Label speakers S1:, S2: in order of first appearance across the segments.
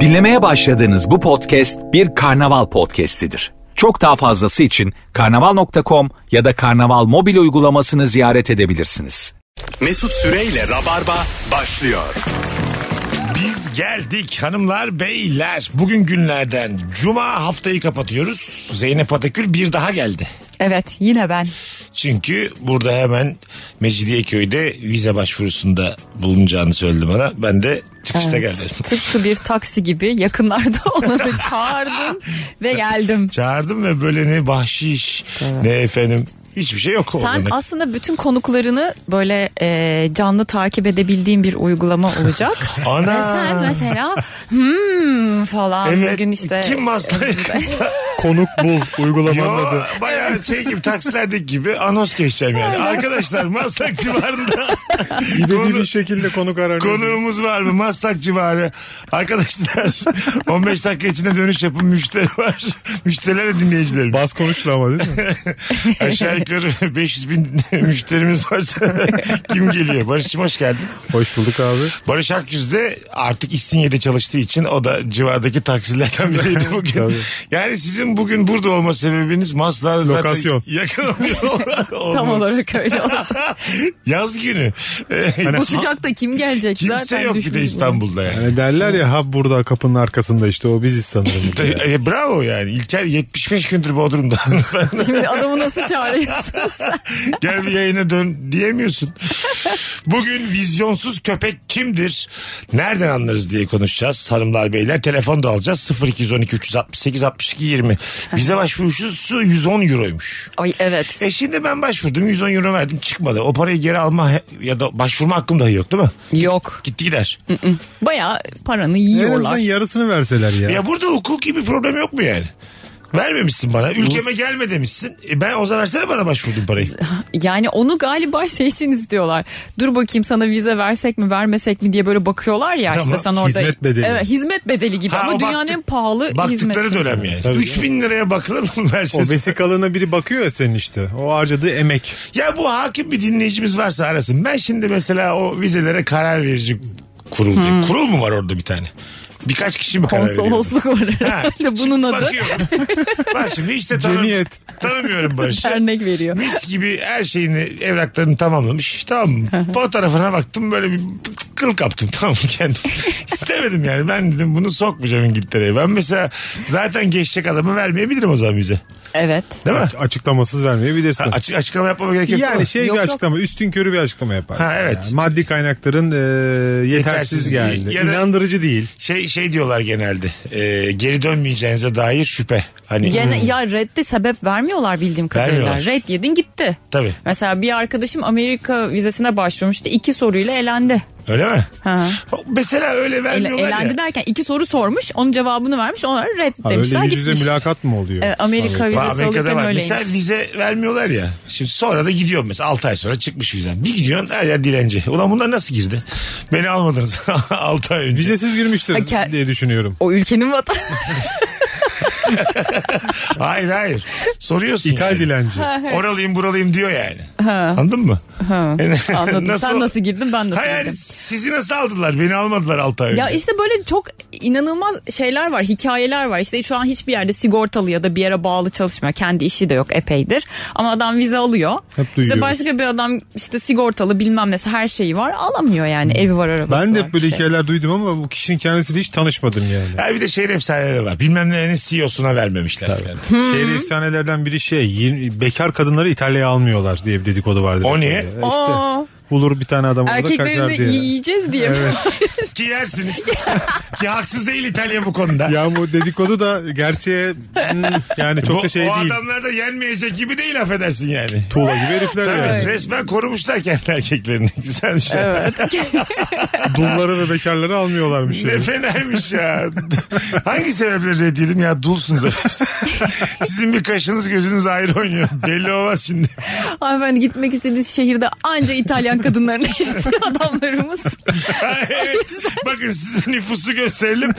S1: Dinlemeye başladığınız bu podcast bir karnaval podcastidir. Çok daha fazlası için karnaval.com ya da karnaval mobil uygulamasını ziyaret edebilirsiniz.
S2: Mesut Süreyle Rabarba başlıyor.
S3: Biz geldik hanımlar beyler. Bugün günlerden cuma haftayı kapatıyoruz. Zeynep Atakül bir daha geldi.
S4: Evet yine ben.
S3: Çünkü burada hemen Mecidiyeköy'de vize başvurusunda bulunacağını söyledi bana. Ben de çıkışta
S4: Evet.
S3: geldim.
S4: Tıpkı bir taksi gibi yakınlarda olanı çağırdım ve geldim.
S3: Çağırdım ve böyle ne bahşiş ne efendim hiçbir şey yok.
S4: Sen
S3: orada.
S4: aslında bütün konuklarını böyle e, canlı takip edebildiğin bir uygulama olacak.
S3: Ana.
S4: Ve sen mesela hmm falan
S3: Evet.
S4: bugün işte.
S3: Kim masla yakınsa?
S5: Konuk bul uygulamanın
S3: Yo,
S5: adı.
S3: bayağı şey gibi taksilerdeki gibi anons geçeceğim yani. Arkadaşlar Maslak civarında
S5: İbedi
S3: Konu-
S5: bir şekilde konuk aranıyor.
S3: Konuğumuz var mı? Maslak civarı. Arkadaşlar 15 dakika içinde dönüş yapın. Müşteri var. Müşteriler ve dinleyicilerimiz.
S5: Bas konuştu ama değil mi?
S3: Aşağı yukarı 500 bin müşterimiz varsa kim geliyor? Barış'cığım hoş geldin.
S5: Hoş bulduk abi.
S3: Barış Akyüz de artık İstinye'de çalıştığı için o da civardaki taksilerden biriydi bugün.
S5: Tabii.
S3: yani sizin bugün burada olma sebebiniz Maslak'a zaten
S5: Lokasyon.
S3: yakın oluyor.
S4: Tam olarak öyle oldu.
S3: Yaz günü.
S4: Bu sıcakta kim gelecek?
S3: Hani Kimse
S4: Zaten
S3: yok bir de
S4: düşünün.
S3: İstanbul'da yani.
S5: Hani derler ya ha burada kapının arkasında işte o biziz sanırım.
S3: Ta- e, bravo yani. İlker 75 gündür Bodrum'da.
S4: Şimdi adamı nasıl çağırıyorsun?
S3: Gel bir yayına dön diyemiyorsun. Bugün vizyonsuz köpek kimdir? Nereden anlarız diye konuşacağız. Hanımlar beyler telefon da alacağız. 0212 368 62 20. Bize başvurucusu 110 euroymuş.
S4: Ay evet.
S3: E şimdi ben başvurdum 110 euro verdim çıkmadı. O parayı geri alma he- ya da başvurma hakkım dahi yok değil mi?
S4: Yok.
S3: Gitti gider.
S4: Bayağı paranı
S5: en azından
S4: yiyorlar.
S5: yarısını verseler ya.
S3: Ya burada hukuki bir problem yok mu yani? Vermemişsin bana. Ülkeme gelme demişsin. E ben o zaman versene bana başvurdum parayı.
S4: Yani onu galiba şey için istiyorlar. Dur bakayım sana vize versek mi vermesek mi diye böyle bakıyorlar ya
S3: Tamam.
S4: işte sen orada.
S5: Hizmet bedeli.
S4: Evet hizmet bedeli gibi
S3: Ha, o
S4: ama
S3: baktı-
S4: dünyanın en pahalı
S3: Baktıkları
S4: hizmeti.
S3: dönem yani.
S5: Tabii
S3: 3000 liraya bakılır mı her şey?
S5: O vesikalığına biri bakıyor ya senin işte. O harcadığı emek.
S3: Ya bu hakim bir dinleyicimiz varsa arasın. Ben şimdi mesela o vizelere karar verici kurul diyeyim. Kurul mu var orada bir tane? Birkaç kişi mi karar veriyor?
S4: Hmm. Konsolosluk var herhalde bunun adı.
S3: Bakıyorum. Bak şimdi hiç de tanı-
S5: Cemiyet.
S3: tanımıyorum Barış'ı.
S4: Örnek veriyor.
S3: Mis gibi her şeyini evraklarını tamamlamış. Tamam mı? fotoğrafına baktım böyle bir kıl kaptım tamam mı kendim. İstemedim yani ben dedim bunu sokmayacağım İngiltere'ye. Ben mesela zaten geçecek adamı vermeyebilirim o zaman bize.
S4: Evet.
S3: Değil mi?
S5: Aç- açıklamasız vermeyebilirsin.
S3: Ha, açık, açıklama yapmama gerek yok. değil mi?
S5: yani şey
S4: Yok,
S5: bir
S4: yok.
S5: açıklama, üstün körü bir açıklama yaparsın.
S3: Ha, evet.
S5: Yani maddi kaynakların e, yetersiz,
S3: Yetersiz
S5: geldi.
S3: değil. Ya da-
S5: İnandırıcı değil.
S3: Şey şey diyorlar genelde. e, geri dönmeyeceğinize dair şüphe. Hani
S4: Gene,
S5: Hmm.
S4: ya redde sebep vermiyorlar bildiğim kadarıyla.
S3: Vermiyorlar.
S4: Red yedin gitti.
S3: Tabii.
S4: Mesela bir arkadaşım Amerika vizesine başvurmuştu. iki soruyla elendi.
S3: öyle mi?
S4: Ha.
S3: Mesela öyle
S4: Ele-
S3: vermiyorlar
S4: elendi
S3: ya.
S4: derken iki soru sormuş. Onun cevabını vermiş. Onlara red
S5: Ha,
S4: demişler.
S5: öyle yüz yüze
S4: gitmiş.
S5: mülakat mı oluyor?
S4: şey- E, Amerika
S5: Tabii.
S3: Bak,
S4: vizesi
S3: Amerika'da
S4: alırken
S3: var.
S4: öyleymiş.
S3: Mesela vize vermiyorlar ya. Şimdi sonra da gidiyorum mesela 6 ay sonra çıkmış vizem. Bir gidiyorsun her yer dilenci. Ulan bunlar nasıl girdi? Beni almadınız 6 ay önce.
S5: Vizesiz girmiştir
S4: Ha, ke-
S5: diye düşünüyorum.
S4: O ülkenin vatandaşı.
S3: Hayır hayır. Soruyorsun.
S5: İthal
S3: yani.
S5: dilenci.
S3: Oralıyım buralıyım diyor yani. Anladın mı? E, Yani
S4: Anladım. Sen nasıl girdin ben nasıl
S3: Hayır, hayır,
S4: girdim.
S3: sizi nasıl aldılar? Beni almadılar 6 ay önce.
S4: Ya işte böyle çok inanılmaz şeyler var, hikayeler var. İşte şu an hiçbir yerde sigortalı ya da bir yere bağlı çalışmıyor. Kendi işi de yok epeydir. Ama adam vize alıyor.
S5: Hep
S4: İşte
S5: duyuyoruz.
S4: başka bir adam işte sigortalı bilmem nesi her şeyi var. Alamıyor yani evi var arabası
S5: Ben de
S4: var,
S5: hep böyle
S4: bir şey.
S5: hikayeler duydum ama bu kişinin kendisiyle hiç tanışmadım yani.
S3: Ha bir de şehir efsaneleri var. Bilmem nerenin CEO'suna vermemişler. falan.
S5: Şehir efsanelerden biri şey yeni- bekar kadınları İtalya'ya almıyorlar diye bir dedikodu vardı.
S3: O niye?
S5: E İşte
S4: Aa.
S5: bulur bir tane adam orada kaçar
S4: Erkeklerini
S5: diye.
S4: de yiyeceğiz diye. mi?
S3: Ki yersiniz. Ki haksız değil İtalya bu konuda.
S5: Ya bu dedikodu da gerçeğe hmm, yani çok
S3: bu,
S5: da şey
S3: o
S5: değil.
S3: adamlar da yenmeyecek gibi değil affedersin yani.
S5: Tuğla gibi herifler
S3: Tabii,
S5: yani.
S3: resmen korumuşlar kendi erkeklerini. şey. Güzelmiş. ya.
S5: Dulları ve bekarları almıyorlarmış.
S3: Ne
S5: Yani.
S3: fenaymış ya. Hangi sebeple reddedim ya? Dulsunuz efendim. Sizin bir kaşınız gözünüz ayrı oynuyor. Belli olmaz şimdi.
S4: Hanımefendi gitmek istediğiniz şehirde anca İtalyan kadınlarını yetiyor adamlarımız.
S3: evet. Bakın size nüfusu gösterelim.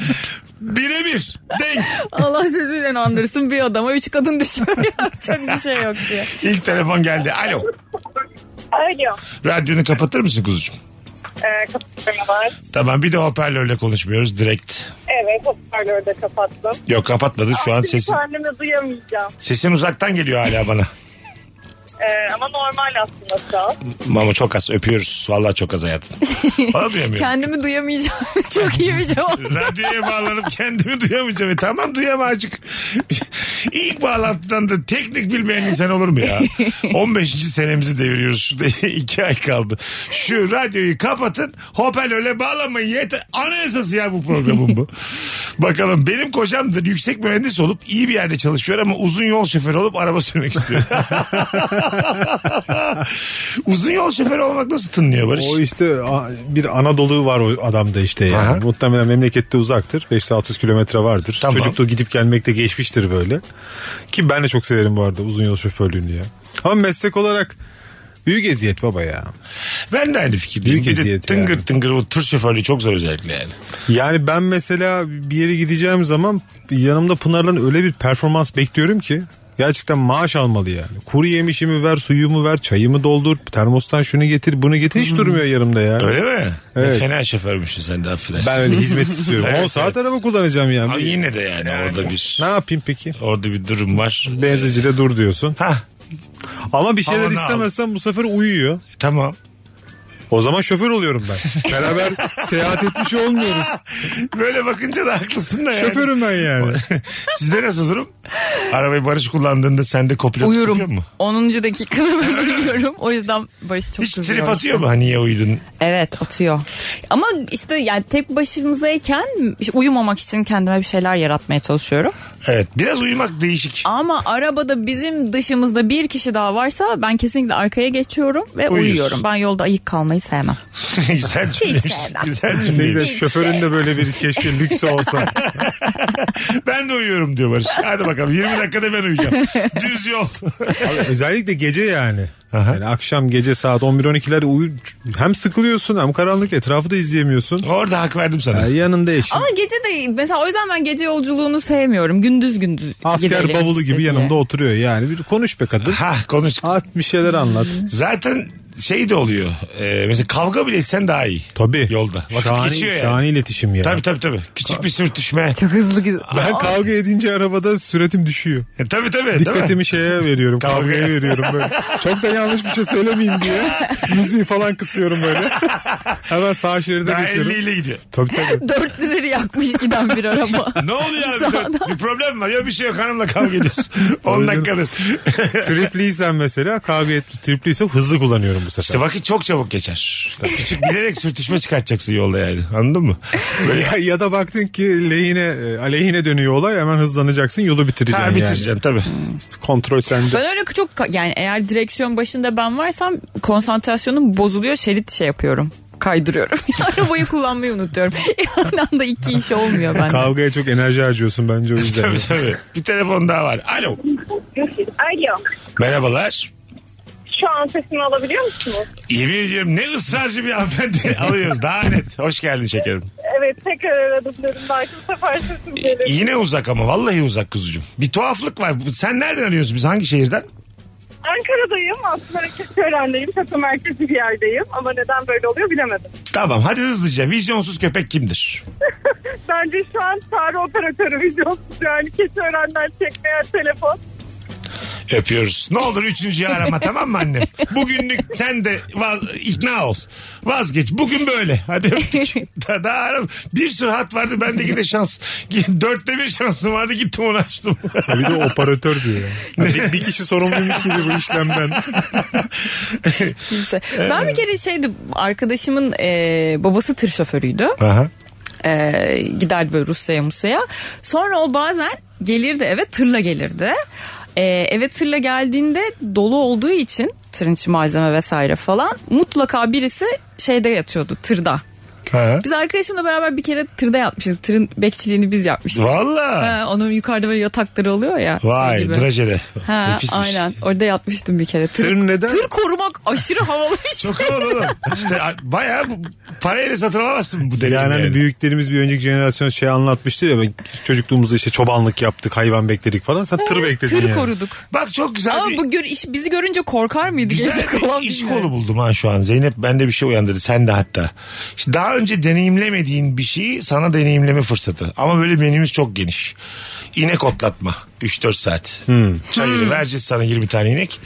S3: Birebir. Denk.
S4: Allah sizi inandırsın bir adama üç kadın düşüyor. Yapacak bir şey yok diye.
S3: İlk telefon geldi. Alo.
S6: Alo.
S3: Radyonu kapatır mısın kuzucuğum?
S6: Ee, kapatma var.
S3: Tamam bir de hoparlörle konuşmuyoruz direkt.
S6: Evet hoparlörde kapattım.
S3: Yok kapatmadı şu an
S6: Şimdi
S3: sesin.
S6: Kendimi duyamayacağım.
S3: Sesin uzaktan geliyor hala bana.
S6: Ee, ama normal aslında şu an.
S3: Mama çok az öpüyoruz. Vallahi çok az hayatım. Bana duyamıyorum.
S4: Kendimi duyamayacağım. Çok iyi bir cevap.
S3: Radyoya bağlanıp kendimi duyamayacağım. E, tamam duyama acık. İlk bağlantıdan da teknik bilmeyen insan olur mu ya? 15. senemizi deviriyoruz. Şurada 2 ay kaldı. Şu radyoyu kapatın. Hoparlörle bağlamayın. Yeter. Anayasası ya bu programın bu. Bakalım benim kocamdır. Yüksek mühendis olup iyi bir yerde çalışıyor ama uzun yol şoförü olup araba sürmek istiyor. uzun yol şoförü olmak nasıl tınlıyor Barış?
S5: O işte a- bir Anadolu var o adamda işte yani.
S3: Aha.
S5: Muhtemelen memlekette uzaktır. 500-600 kilometre vardır.
S3: Tamam.
S5: Çocukluğu gidip gelmekte geçmiştir böyle. Ki ben de çok severim bu arada uzun yol şoförlüğünü ya. Ama meslek olarak büyük eziyet baba ya.
S3: Ben de aynı fikirdeyim.
S5: Büyük
S3: Bir de
S5: eziyet
S3: tıngır
S5: yani.
S3: tıngır o tır şoförlüğü çok zor özellikle yani.
S5: Yani ben mesela bir yere gideceğim zaman yanımda Pınar'dan öyle bir performans bekliyorum ki gerçekten maaş almalı yani. Kuru yemişimi ver, suyumu ver, çayımı doldur, termostan şunu getir, bunu getir. Hiç durmuyor yanımda ya.
S3: Öyle mi?
S5: Evet.
S3: Ne Fena şoförmüşsün sen de affedersin.
S5: Ben öyle hizmet istiyorum.
S3: Evet,
S5: 10 saat
S3: evet.
S5: araba kullanacağım yani.
S3: Ama yine de yani, orada bir
S5: Ne yapayım peki?
S3: orada bir durum var.
S5: Benzincide dur diyorsun.
S3: Ha
S5: Ama bir şeyler
S3: Aman
S5: istemezsen bu sefer uyuyor.
S3: tamam.
S5: O zaman şoför oluyorum ben. Beraber seyahat etmiş olmuyoruz.
S3: Böyle bakınca da haklısın da yani.
S5: Şoförüm ben yani.
S3: Sizde nasıl durum? Arabayı Barış kullandığında sende kopilot tutuyor
S4: Uyurum.
S3: mu?
S4: 10. dakikada ben uyuyorum. O yüzden Barış çok
S3: Hiç
S4: kızıyor.
S3: trip atıyor mu? Ha, niye uyudun?
S4: Evet atıyor. Ama işte yani tek başımızayken işte uyumamak için kendime bir şeyler yaratmaya çalışıyorum.
S3: Evet biraz uyumak değişik.
S4: Ama arabada bizim dışımızda bir kişi daha varsa ben kesinlikle arkaya geçiyorum ve
S3: Uyuyorsun.
S4: uyuyorum. Ben yolda ayık kalmayı sevmem.
S3: güzel cümleymiş.
S4: sevmem.
S3: güzel
S5: Ne
S3: cümleymiş.
S5: güzel şoförün de böyle bir keşke lüksü olsa.
S3: ben de uyuyorum diyor Barış. Hadi bakalım 20 dakikada ben uyuyacağım. Düz yol.
S5: Abi özellikle gece yani.
S3: Aha.
S5: Yani akşam gece saat 11-12'lerde uyu hem sıkılıyorsun hem karanlık etrafı da izleyemiyorsun.
S3: Orada hak verdim sana.
S5: Ya yanında eşin.
S4: Ama gece de mesela o yüzden ben gece yolculuğunu sevmiyorum. Gündüz gündüz
S5: Asker
S4: gidelim
S5: bavulu
S4: işte
S5: gibi
S4: diye.
S5: yanımda oturuyor yani. Bir konuş be kadın.
S3: Ha konuş.
S5: At bir şeyler anlat.
S3: Zaten şey de oluyor. Ee, mesela kavga bile etsen daha iyi.
S5: Tabii.
S3: Yolda. Vakit
S5: şahane,
S3: geçiyor yani.
S5: Şahane iletişim ya.
S3: Tabii tabii tabii. Küçük bir sürtüşme.
S4: Çok hızlı gidiyor.
S5: Ben kavga edince arabada süratim düşüyor.
S3: E, tabii tabii. değil mi?
S5: Dikkatimi şeye veriyorum,
S3: Kavgaya.
S5: kavgaya veriyorum böyle. Çok da yanlış bir şey söylemeyeyim diye. Müziği falan kısıyorum böyle. Hemen sağ şeride
S3: Daha
S5: geçiyorum.
S3: 50 ile gidiyor.
S5: Tabii tabii.
S4: Dörtlüleri yakmış giden bir araba.
S3: Ne oluyor abi? Dört- bir problem var. Ya bir şey yok. Hanımla kavga ediyorsun. 10
S5: Tabii
S3: dakikadır.
S5: Tripliysen mesela kavga et, tripliysem hızlı kullanıyorum bu sefer.
S3: işte vakit çok çabuk geçer. Küçük bilerek sürtüşme çıkartacaksın yolda yani. Anladın mı? Böyle
S5: ya, ya da baktın ki lehine, e, aleyhine dönüyor olay hemen hızlanacaksın yolu bitireceksin
S3: ha,
S5: yani.
S3: bitireceksin tabii.
S5: İşte kontrol sende.
S4: Ben öyle çok yani eğer direksiyon başında ben varsam konsantrasyonum bozuluyor şerit şey yapıyorum kaydırıyorum. Arabayı kullanmayı unutuyorum. Aynı anda iki iş olmuyor bende.
S5: Kavgaya çok enerji harcıyorsun bence o yüzden.
S3: tabii tabii. Bir telefon daha var. Alo.
S6: Alo.
S3: Merhabalar.
S6: Şu an sesimi alabiliyor musunuz?
S3: Yemin ediyorum ne ısrarcı bir hanımefendi alıyoruz. Daha net. Hoş geldin şekerim.
S6: Evet tekrar aradım dedim. Belki bu sefer sesim gelir.
S3: Yine uzak ama vallahi uzak kuzucuğum. Bir tuhaflık var. Bu- Sen nereden arıyorsun biz? Hangi şehirden?
S6: Ankara'dayım. Aslında merkez öğrendeyim. Katı merkezi bir yerdeyim. Ama neden böyle oluyor bilemedim.
S3: Tamam hadi hızlıca. Vizyonsuz köpek kimdir?
S6: Bence şu an sarı operatörü videosuz yani kesin öğrenden çekmeyen telefon.
S3: Öpüyoruz. Ne olur üçüncüyü arama tamam mı annem? Bugünlük sen de vaz- ikna ol. Vazgeç. Bugün böyle. Hadi öptük. daha, daha aram- Bir sürü hat vardı. Bende yine şans. Dörtte bir şansım vardı. Gittim onu açtım.
S5: Bir de operatör diyor. ya. Bir, bir kişi sorumluymuş gibi bu işlemden.
S4: Kimse. Ben bir kere şeydi arkadaşımın e, babası tır şoförüydü.
S3: Aha.
S4: e, giderdi böyle Rusya'ya Musya'ya. Sonra o bazen gelirdi eve tırla gelirdi. E, eve tırla geldiğinde dolu olduğu için tırın içi malzeme vesaire falan mutlaka birisi şeyde yatıyordu tırda.
S3: Ha.
S4: Biz arkadaşımla beraber bir kere tırda yatmıştık. Tırın bekçiliğini biz yapmıştık.
S3: Valla.
S4: Ha, onun yukarıda böyle yatakları oluyor ya. şey
S3: Vay
S4: gibi.
S3: drajede.
S4: Ha,
S3: Nefismiş.
S4: aynen. Orada yatmıştım bir kere. Tır,
S5: Tır neden?
S4: tır korumak aşırı havalı bir şey.
S3: Çok havalı oğlum. İşte a- bayağı bu, parayla satın alamazsın bu deneyimi.
S5: Yani hani büyüklerimiz bir önceki jenerasyon şey anlatmıştı ya ben çocukluğumuzda işte çobanlık yaptık hayvan bekledik falan sen tır bekledin
S4: Tır
S5: yani.
S4: koruduk.
S3: Bak çok güzel
S4: Ama
S3: bir,
S4: bu gör, iş, bizi görünce korkar mıydı?
S3: güzel
S4: Gece
S3: bir
S4: falan
S3: iş
S4: bilmiyorum.
S3: kolu buldum ha şu an. Zeynep bende bir şey uyandırdı. Sen de hatta. İşte daha önce deneyimlemediğin bir şeyi sana deneyimleme fırsatı. Ama böyle menümüz çok geniş. İnek otlatma. 3-4 saat. Çayırı
S4: Hmm.
S3: vereceğiz sana 20 tane inek.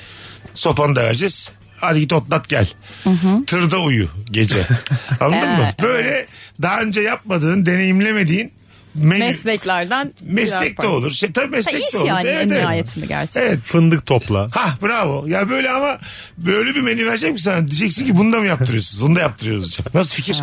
S3: Sopanı da vereceğiz. Hadi git otlat gel. Tırda uyu gece. Anladın mı?
S4: Evet,
S3: Böyle daha önce yapmadığın, deneyimlemediğin menü-
S4: Mesleklerden birer
S3: Meslek de
S4: parça.
S3: olur. Şey, tabii meslek
S4: Ha, iş
S3: de olur.
S4: yani en
S3: evet.
S4: nihayetinde gerçi.
S3: Evet.
S5: Fındık topla.
S3: Ha bravo. Ya böyle ama böyle bir menü verecek ki sana. Diyeceksin ki bunu da mı yaptırıyorsunuz? Bunu da yaptırıyoruz. diyecek. Nasıl fikir?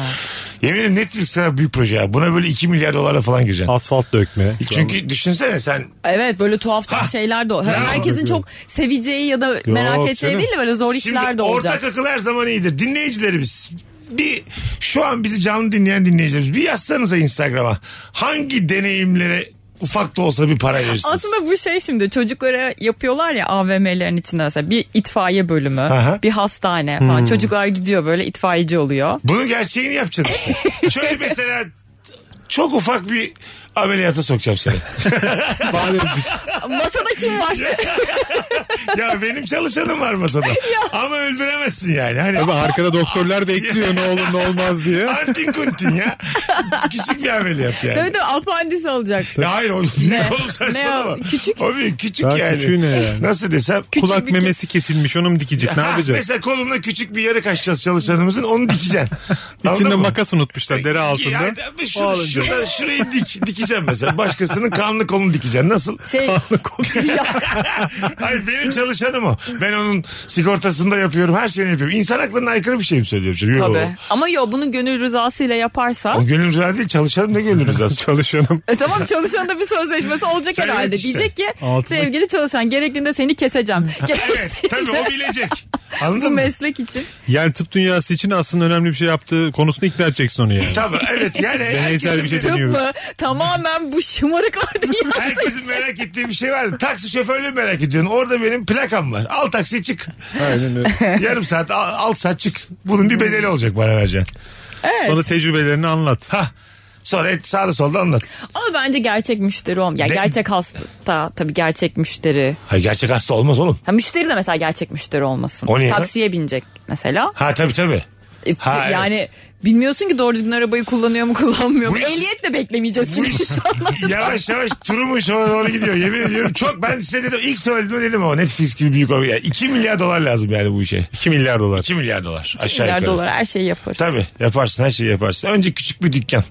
S3: Yemin ederim Netflix sana büyük proje ya. Buna böyle 2 milyar dolarla falan gireceksin. E
S5: Asfalt dökme.
S3: Çünkü düşünsene sen
S4: Evet böyle tuhaf
S3: Ha!
S4: tuhaf şeyler de o. Herkesin çok seveceği ya da
S5: Yok
S4: merak edeceği
S5: canım.
S4: değil de böyle zor
S3: şimdi
S4: işler de olacak.
S3: ortak akıl her zaman iyidir. Dinleyicilerimiz bir şu an bizi canlı dinleyen dinleyicilerimiz bir yazsanıza Instagram'a. Hangi deneyimlere ufak da olsa bir para verirsiniz?
S4: Aslında bu şey şimdi çocuklara yapıyorlar ya AVM'lerin içinde mesela bir itfaiye bölümü,
S3: Aha.
S4: bir hastane falan.
S5: Hmm.
S4: Çocuklar gidiyor böyle itfaiyeci oluyor.
S3: Bunu gerçeğini yapacaksın işte. Şöyle mesela çok ufak bir ameliyata sokacağım seni.
S5: Bademcik.
S4: Masada kim var?
S3: ya benim çalışanım var masada. Ama öldüremezsin yani.
S5: Tabii
S3: Hani
S5: arkada doktorlar bekliyor ne olur ne olmaz diye.
S3: Antin kuntin ya. Küçük bir ameliyat yani.
S4: Tabii tabii apandis alacak.
S3: Ya hayır oğlum, ne? oğlum saçmalama.
S4: Ne o? Küçük?
S3: O bir küçük
S5: Daha
S3: yani.
S5: küçüğü ne yani?
S3: Nasıl desem?
S5: Kulak memesi kesilmiş onu mu dikecek ne
S3: Ha,
S5: yapacak?
S3: Mesela kolumla küçük bir yarı kaçacağız çalışanımızın onu dikeceksin. Anladın
S5: İçinde
S3: mı?
S5: makas unutmuşlar dere altında.
S3: Yani ben şunu- şuradan şurayı dik, dikeceğim mesela. Başkasının kanlı kolunu dikeceksin. Nasıl?
S4: Şey
S3: Hayır benim çalışanım o. Ben onun sigortasını da yapıyorum. Her şeyini yapıyorum. İnsan aklına aykırı bir şey mi söylüyorum? şimdi? Yo.
S4: tabii. Ama yo bunu gönül rızasıyla yaparsa.
S3: O gönül rüzgarı değil çalışanım ne gönül rüzgâsı?
S5: Çalışanım.
S4: E tamam çalışanın da bir sözleşmesi olacak
S3: Sen evet
S4: herhalde.
S3: işte.
S4: Diyecek ki
S5: Altında-
S4: sevgili çalışan gerektiğinde seni keseceğim.
S3: evet tabii o bilecek.
S4: Bu
S3: Anladın mı?
S4: meslek için.
S5: Yani tıp dünyası için aslında önemli bir şey yaptığı konusunda ikna edeceksin onu yani.
S3: Tabii evet yani herkesin,
S5: bir şey
S4: Tıp
S5: Deniyoruz.
S4: mı? Tamamen bu şımarıklar dünyası.
S3: herkesin merak ettiği bir şey var. Taksi şoförlüğü merak ediyorsun. Orada benim plakam var. Al taksiye çık.
S5: Aynen öyle.
S3: Yarım saat al, al saat çık. Bunun bir bedeli olacak bana vereceksin.
S5: Sonra tecrübelerini anlat.
S3: Hah. Sonra et sağda solda anlat.
S4: Ama bence gerçek müşteri olm. Ya
S3: De-
S4: gerçek hasta tabii gerçek müşteri.
S3: Hayır gerçek hasta olmaz oğlum.
S4: Ha müşteri de mesela gerçek müşteri olmasın.
S3: O niye lan?
S4: Taksiye binecek mesela.
S3: Ha tabii tabii.
S4: E,
S3: Ha, evet.
S4: yani bilmiyorsun ki doğru düzgün arabayı kullanıyor mu kullanmıyor mu.
S3: Bu iş-
S4: Ehliyetle beklemeyeceğiz
S3: Bu
S4: çünkü
S3: iş
S4: insanlar.
S3: yavaş yavaş turumun şuna doğru gidiyor. Yemin ediyorum çok ben size dedim ilk söylediğimde dedim ama Netflix gibi büyük olmuyor. 2 milyar dolar lazım yani bu işe.
S5: 2 milyar dolar.
S3: 2 milyar dolar aşağı
S4: Milyar
S3: yukarı.
S4: dolar her şeyi yaparız.
S3: Tabii yaparsın her şeyi yaparsın. Önce küçük bir dükkan.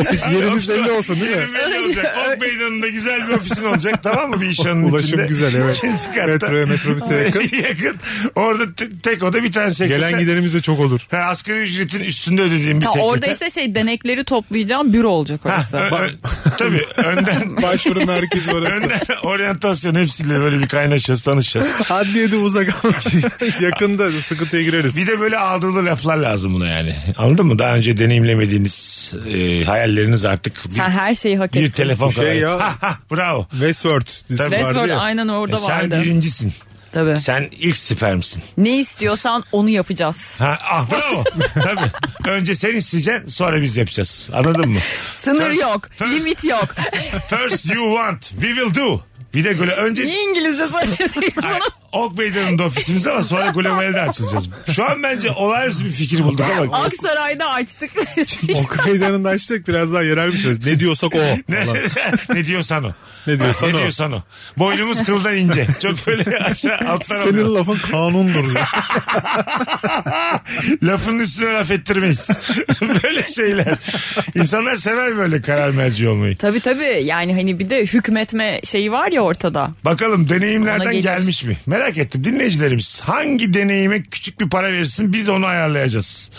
S5: Ofis yeriniz belli olsun değil mi?
S3: Yerin belli olacak. Ok meydanında güzel bir ofisin olacak tamam mı bir iş yanının
S5: Ulaşım
S3: içinde.
S5: güzel, evet.
S3: İkinci katta.
S5: Metroya metrobüse yakın.
S3: yakın. Orada te- tek oda bir tane sekreter.
S5: Gelen giderimiz de çok olur.
S3: Ha, asgari ücretin üstünde ödediğim bir
S4: Ha,
S3: sekreter.
S4: orada işte şey denekleri toplayacağım büro olacak
S3: Ha,
S4: orası.
S3: ö- ö- tabii önden
S5: Başvurun herkesi orası.
S3: Önden oryantasyon hepsiyle böyle bir kaynaşacağız tanışacağız.
S5: Adliye de uzak ama yakında sıkıntıya gireriz.
S3: Bir de böyle ağdalı laflar lazım buna yani. Anladın mı? Daha önce deneyimlemediğiniz e, hayalleriniz artık bir,
S4: Sen her şeyi hak
S3: bir
S4: ettin.
S3: telefon
S5: Bir şey
S3: kadar.
S5: ya.
S3: Ha, ha, bravo.
S5: Westworld dizisi vardı
S4: Resmen
S5: ya.
S4: aynen
S3: E,
S4: orada
S3: sen
S4: vardı.
S3: birincisin.
S4: Tabii.
S3: Sen ilk spermsin.
S4: Ne istiyorsan onu yapacağız.
S3: Ha, ah bravo. Tabii. Önce sen isteyeceksin sonra biz yapacağız. Anladın mı?
S4: Sınır
S3: First-
S4: yok,
S3: first-
S4: limit yok.
S3: First you want, we will do. Bir de böyle önce
S4: Niye İngilizce söylüyorsun bunu?
S3: Ok Meydanı'nda ofisimiz ama sonra globalde açılacağız. Şu an bence olağanüstü bir fikir bulduk ama.
S4: Aksaray'da açtık.
S5: Ok meydanını açtık biraz daha yerel bir söz. Ne diyorsak o. falan.
S3: ne diyorsan o.
S5: Ne diyorsan
S3: ne
S5: o.
S3: diyorsan o. Boynumuz kıldan ince. Çok böyle aşağı alttan
S5: Senin
S3: alıyor.
S5: lafın kanundur. ya.
S3: Lafın üstüne laf ettirmeyiz. böyle şeyler. İnsanlar sever böyle karar merci olmayı.
S4: tabii tabii yani hani bir de hükmetme şeyi var ya ortada.
S3: Bakalım
S4: Ona
S3: deneyimlerden
S4: gelir.
S3: gelmiş mi? Merak ettim dinleyicilerimiz. Hangi deneyime küçük bir para verirsin biz onu ayarlayacağız.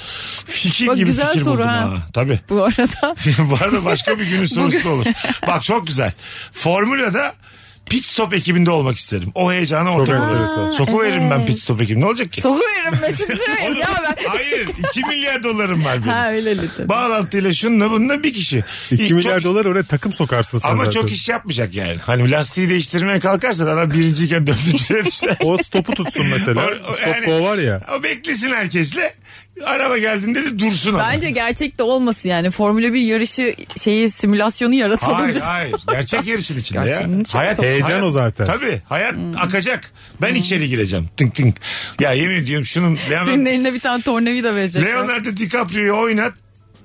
S3: Fikir
S4: Bak,
S3: gibi
S4: güzel
S3: fikir
S4: soru
S3: buldum
S4: ha.
S3: ha. Tabii.
S4: Bu arada
S3: Bu arada başka bir günün sorusu da
S4: Bugün-
S3: olur. Bak çok güzel. Formula'da pit stop ekibinde olmak isterim. O heyecana
S5: Çok
S3: ortak
S5: enteresan.
S3: olurum.
S5: Aa,
S3: Soku veririm ben
S4: evet.
S3: pit stop ekibinde. Ne olacak ki?
S4: Sokuyorum Mesut Süreyi ya ben.
S3: Hayır 2 milyar dolarım var benim.
S4: Ha öyle lütfen.
S3: Bağlantıyla şununla bununla bir kişi.
S5: 2
S3: Çok-
S5: milyar dolar oraya takım sokarsın sen
S3: ama
S5: zaten.
S3: çok iş yapmayacak yani. Hani lastiği değiştirmeye kalkarsan adam birinciyken dördüncüye düşer.
S5: O stopu tutsun mesela.
S3: O- o-
S5: Stop
S3: yani-
S5: go var ya.
S3: O beklesin herkesle. Araba geldiğinde de dursun ama.
S4: Bence gerçek de olmasın yani. Formula 1 yarışı şeyi simülasyonu yaratalım
S3: Hayır
S4: biz.
S3: hayır. Gerçek yarışın içinde ya.
S4: Gerçeğin içinde. Hmm.
S3: Hayat,
S5: Heyecan
S3: hayat-
S5: o zaten.
S3: Tabii hayat akacak. Ben içeri gireceğim. Tink tink. Ya yemin ediyorum şunun
S4: Senin
S3: Leonardo,
S4: eline bir şey tane tornavida verecek.
S3: Leonardo DiCaprio'yu oynat.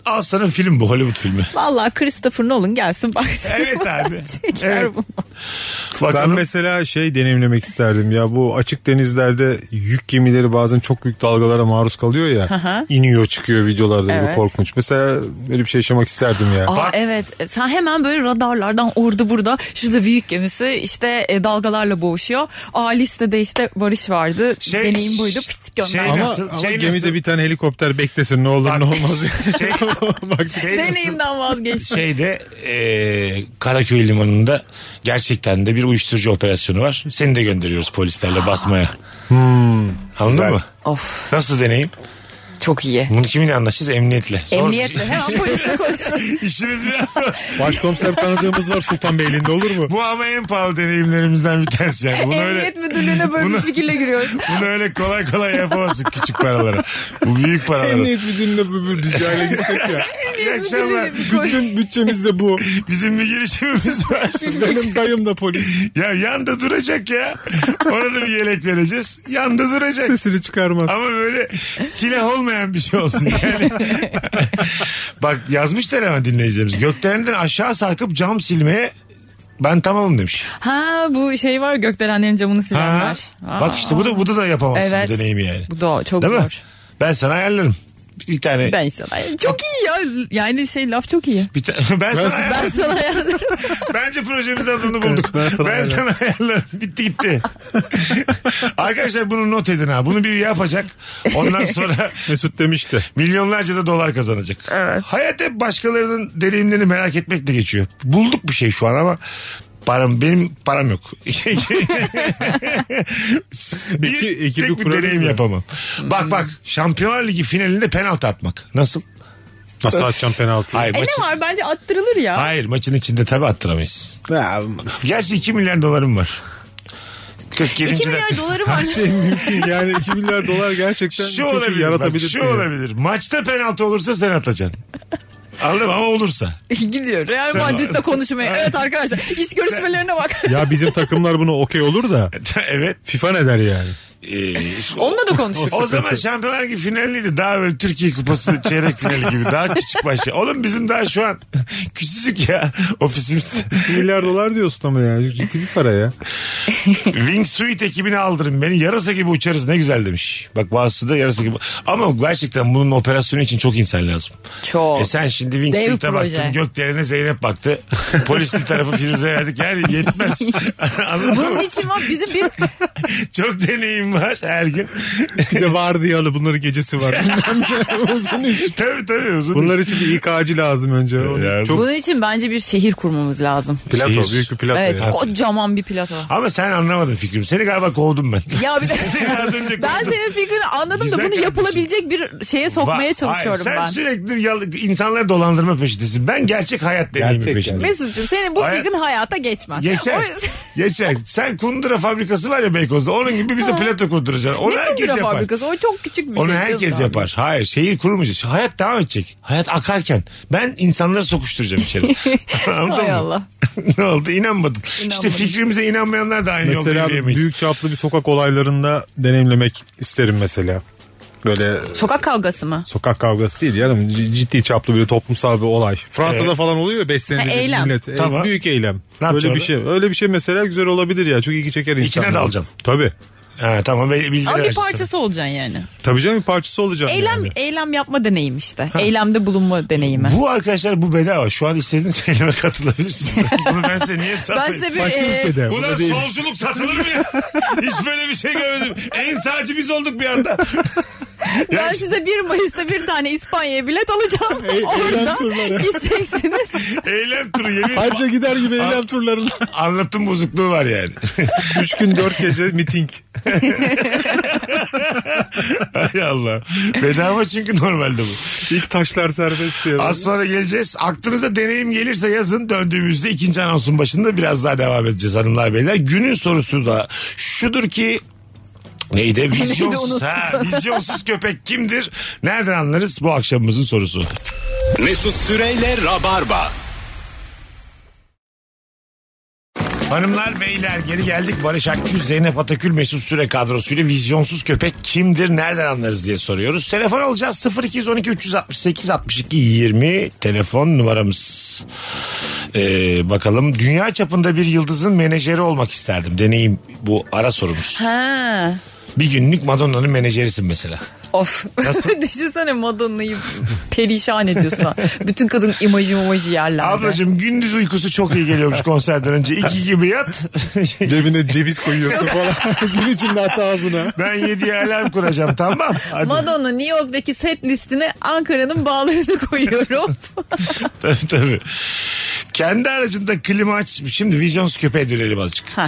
S3: Al sana film bu Hollywood filmi.
S4: Vallahi Christopher Nolan gelsin baksın.
S3: Evet abi.
S4: Çeker
S3: Evet.
S4: bunu.
S5: Ben
S3: Bakalım.
S5: mesela şey deneyimlemek isterdim ya bu açık denizlerde yük gemileri bazen çok büyük dalgalara maruz kalıyor ya.
S4: hı.
S5: iniyor çıkıyor videolarda böyle
S4: Evet.
S5: korkunç. Mesela böyle bir şey yaşamak isterdim ya.
S4: Aa,
S3: Bak-
S4: evet sen hemen böyle radarlardan orada burada şurada büyük gemisi işte e, dalgalarla boğuşuyor. Aa listede işte Barış vardı.
S3: Şey-
S4: Deneyim buydu pit gönder.
S3: şey-
S5: ama
S3: nasıl-
S5: ama
S3: şey
S5: gemide
S3: nasıl-
S5: bir tane helikopter beklesin ne olur
S3: Bak-
S5: ne olmaz.
S3: Şey-
S5: Bak,
S3: şey nasıl-
S4: Deneyimden vazgeçtim.
S3: şeyde e, Karaköy Limanı'nda gerçekten de bir uyuşturucu operasyonu var. Seni de gönderiyoruz polislerle basmaya. Anladın
S5: Hmm. Güzel.
S3: mı?
S4: of
S3: Nasıl deneyim?
S4: çok iyi.
S3: Bunu kiminle anlaşacağız? Emniyetle. Zor bir
S4: Emniyetle
S3: şey.
S4: hemen polise koş.
S3: İşimiz biraz zor.
S5: başkomiser tanıdığımız var Sultanbeyli'nde olur mu?
S3: Bu ama en pahalı deneyimlerimizden bir tanesi. Yani. Bunu öyle,
S4: Emniyet müdürlüğüne böyle
S3: Bunu-
S4: bir fikirle giriyoruz.
S3: bunu öyle kolay kolay yapamazsın küçük paralara. Bu büyük paralara.
S5: Emniyet müdürlüğüne bu bir ricayla gitsek ya.
S3: İyi akşamlar.
S5: Bütün bütçemiz de bu.
S3: Bizim bir girişimimiz var.
S5: Benim dayım da polis.
S3: ya yanda duracak ya. Ona da bir yelek vereceğiz. Yanda duracak.
S5: Sesini çıkarmaz.
S3: Ama böyle silah olmayan bir şey olsun yani. Bak yazmışlar hemen dinleyicilerimiz. Gökdelenden aşağı sarkıp cam silmeye ben tamamım demiş.
S4: Ha bu şey var gökdelenlerin
S3: Ha.
S4: camını silenler. Aa.
S3: Bak işte bu da bu da, da yapamazsın
S4: Evet.
S3: bu deneyimi yani.
S4: Bu da çok
S3: Değil
S4: zor.
S3: mi? Ben sana ayarlarım. Bir tane
S4: Ben sana çok iyi ya. Yani şey laf çok iyi.
S3: bir ta- ben, sana ayarlarım.
S4: Ben sana yani.
S3: Bence projemizin adını bulduk.
S5: ben
S3: ben
S5: sana
S3: sana,
S5: ayarlarım.
S3: ayarlarım. Bitti gitti. Arkadaşlar bunu not edin ha. Bunu biri yapacak. Ondan sonra
S5: Mesut demişti.
S3: Milyonlarca da dolar kazanacak. Hayat hep başkalarının deneyimlerini merak etmekle geçiyor. Bulduk bir şey şu an ama param benim param yok. bir,
S5: Peki, ekibi
S3: tek bir
S5: kurarız
S3: deneyim
S5: ya.
S3: yapamam. Bak bak Şampiyonlar Ligi finalinde penaltı atmak. Nasıl?
S5: Nasıl atacağım penaltıyı?
S3: Hayır,
S4: E
S3: maçın,
S4: ne var bence attırılır ya.
S3: hayır maçın içinde tabii attıramayız.
S5: Ya,
S3: Gerçi 2 milyar dolarım var. 47.
S4: 2 milyar
S3: dakika-
S4: doları var.
S5: her şey mümkün yani 2 milyar dolar gerçekten
S3: Şu
S5: çok iyi
S3: olabilir. Bak,
S5: yaratabilirsin.
S3: şu
S5: yani.
S3: olabilir. Maçta penaltı olursa sen atacaksın. Anladın mı? Ama olursa.
S4: Gidiyor. Real
S3: Sen-
S4: Madrid'le konuşmaya. Evet arkadaşlar iş görüşmelerine bak.
S5: Ya bizim takımlar buna okey olur da
S3: evet.
S5: FIFA ne der yani?
S3: Ee,
S4: Onunla da konuşuruz.
S3: O zaman şampiyonlar gibi finaliydi. Daha böyle Türkiye Kupası çeyrek finali gibi. Daha küçük başı. Oğlum bizim daha şu an küçücük ya ofisimiz.
S5: 2 milyar dolar diyorsun ama yani ciddi bir para ya.
S3: Wingsuit ekibini aldırın beni. Yarasa gibi uçarız ne güzel demiş. Bak bazısı da yarasa gibi. Ama gerçekten bunun operasyonu için çok insan lazım.
S4: Çok.
S3: E sen şimdi
S4: Dev
S3: Wingsuit'e
S4: proje.
S3: baktın. Gökdelen'e Zeynep baktı. Polisli tarafı Firuze verdik. Yani yetmez. Anladın
S4: Bunun
S3: mı?
S4: için var bizim bir
S3: Çok deneyim var her gün.
S5: Bir de vardiyalı bunların gecesi var. Bilmem ne, Uzun iş.
S3: tabii tabii. Uzun
S5: Bunlar için bir İK'cı lazım önce. O
S3: Lazım.
S5: Çok
S4: bunun için bence bir şehir kurmamız lazım.
S5: plato,
S3: Şehir.
S5: büyük bir plato.
S4: Evet
S5: ya.
S4: kocaman bir plato.
S3: Ama sen anlamadın fikrimi. Seni galiba kovdum ben.
S4: Ya bir de
S3: Seni az önce
S4: ben
S3: kovdum.
S4: senin fikrini anladım da
S3: Güzel
S4: bunu
S3: kardeşim.
S4: yapılabilecek bir şeye sokmaya
S3: Ba-
S4: çalışıyorum
S3: Hayır,
S4: ben.
S3: Sen sürekli yal- insanları dolandırma peşindesin. Ben gerçek hayat deneyimi
S5: Gerçek
S3: peşindeyim.
S4: Mesut'cum senin bu
S3: Hayır.
S4: fikrin hayata geçmez.
S3: Geçer.
S4: O yüzden-
S3: Geçer. Sen kundura fabrikası var ya Beykoz'da. Onun gibi bize plato kurduracaksın. Onu
S4: ne
S3: herkes
S4: kundura
S3: yapar.
S4: fabrikası o çok küçük bir
S3: Onu
S4: şey.
S3: herkes
S4: kızım.
S3: yapar. Hayır şehir kurmayacak. Hayat devam edecek. Hayat akarken ben insanları sokuşturacağım içeri. Anladın
S4: Hay
S3: mı?
S4: Allah.
S3: ne oldu? İnanmadın. İşte
S4: İnanmadım.
S3: fikrimize inanmayanlar da aynı yolda
S5: Mesela
S3: yürüyemeyiz.
S5: büyük çaplı bir sokak olaylarında deneyimlemek isterim mesela. Böyle
S4: Sokak kavgası mı?
S5: sokak kavgası değil canım C- ciddi çaplı bir toplumsal bir olay. Fransa'da
S3: Evet.
S5: falan oluyor 5 senede
S4: Ha,
S5: bir
S4: eylem.
S5: millet. E,
S3: Tamam.
S5: büyük eylem.
S3: Ne
S5: öyle bir
S3: yapacağız
S5: şey. Öyle bir şey mesela güzel olabilir ya. Çok ilgi çeker
S3: İçine
S5: insanlar.
S3: dalacağım.
S5: Tabii.
S3: Ha, tamam be- bildiri
S4: Ama bir
S3: vereceğiz.
S4: parçası olacaksın yani.
S5: Tabii canım bir parçası olacağım.
S4: Eylem
S5: yani.
S4: eylem yapma deneyim işte. Eylemde bulunma deneyimi.
S3: Bu arkadaşlar bu bedava. Şu an istediğiniz eyleme katılabilirsiniz. Bunu ben size niye
S4: ben
S3: satayım?
S4: size bir
S5: Başka
S4: e,
S5: ülkede.
S3: Ulan
S5: Burada değil.
S3: şey solculuk satılır mı ya? Hiç böyle bir şey görmedim. En sağcı biz olduk bir anda.
S4: Ben
S3: Ya-
S4: size 1 Mayıs'ta bir tane İspanya'ya bilet alacağım.
S3: E,
S4: Orada
S5: turları.
S4: gideceksiniz.
S3: Eylem turu yemin ederim.
S5: Anca gider gibi eylem turlarında.
S3: Anlatım bozukluğu var yani.
S5: 3 gün 4 gece miting.
S3: Hay Allah. Bedava çünkü normalde bu.
S5: İlk taşlar serbest diye.
S3: Az sonra geleceğiz. Aklınıza deneyim gelirse yazın. Döndüğümüzde ikinci anonsun başında biraz daha devam edeceğiz hanımlar beyler. Günün sorusu da şudur ki Neydi? Vizyonsuz,
S4: unuttum.
S3: ha, vizyonsuz köpek kimdir? Nereden anlarız bu akşamımızın sorusu?
S2: Mesut Süreyle Rabarba.
S3: Hanımlar beyler geri geldik. Barış Akgüz, Zeynep Atakül, Mesut Süre kadrosuyla vizyonsuz köpek kimdir nereden anlarız diye soruyoruz. Telefon alacağız 0212 368 62 20 telefon numaramız. Ee, bakalım dünya çapında bir yıldızın menajeri olmak isterdim. Deneyim bu ara sorumuz.
S4: Ha.
S3: Bir günlük Madonna'nın menajerisin mesela.
S4: Of. Düşünsene Madonna'yı perişan ediyorsun. ha. Bütün kadın imajı imajı yerlerde.
S3: Ablacığım gündüz uykusu çok iyi geliyormuş konserden önce. İki gibi yat.
S5: Cebine ceviz koyuyorsun falan. Gün içinde hatta ağzına.
S3: ben yediye alarm kuracağım tamam. Hadi.
S4: Madonna New York'taki set listine Ankara'nın bağlarını koyuyorum.
S3: tabii tabii. Kendi aracında klima aç... Şimdi vizyonsuz köpeğe dönelim azıcık.
S4: Ha.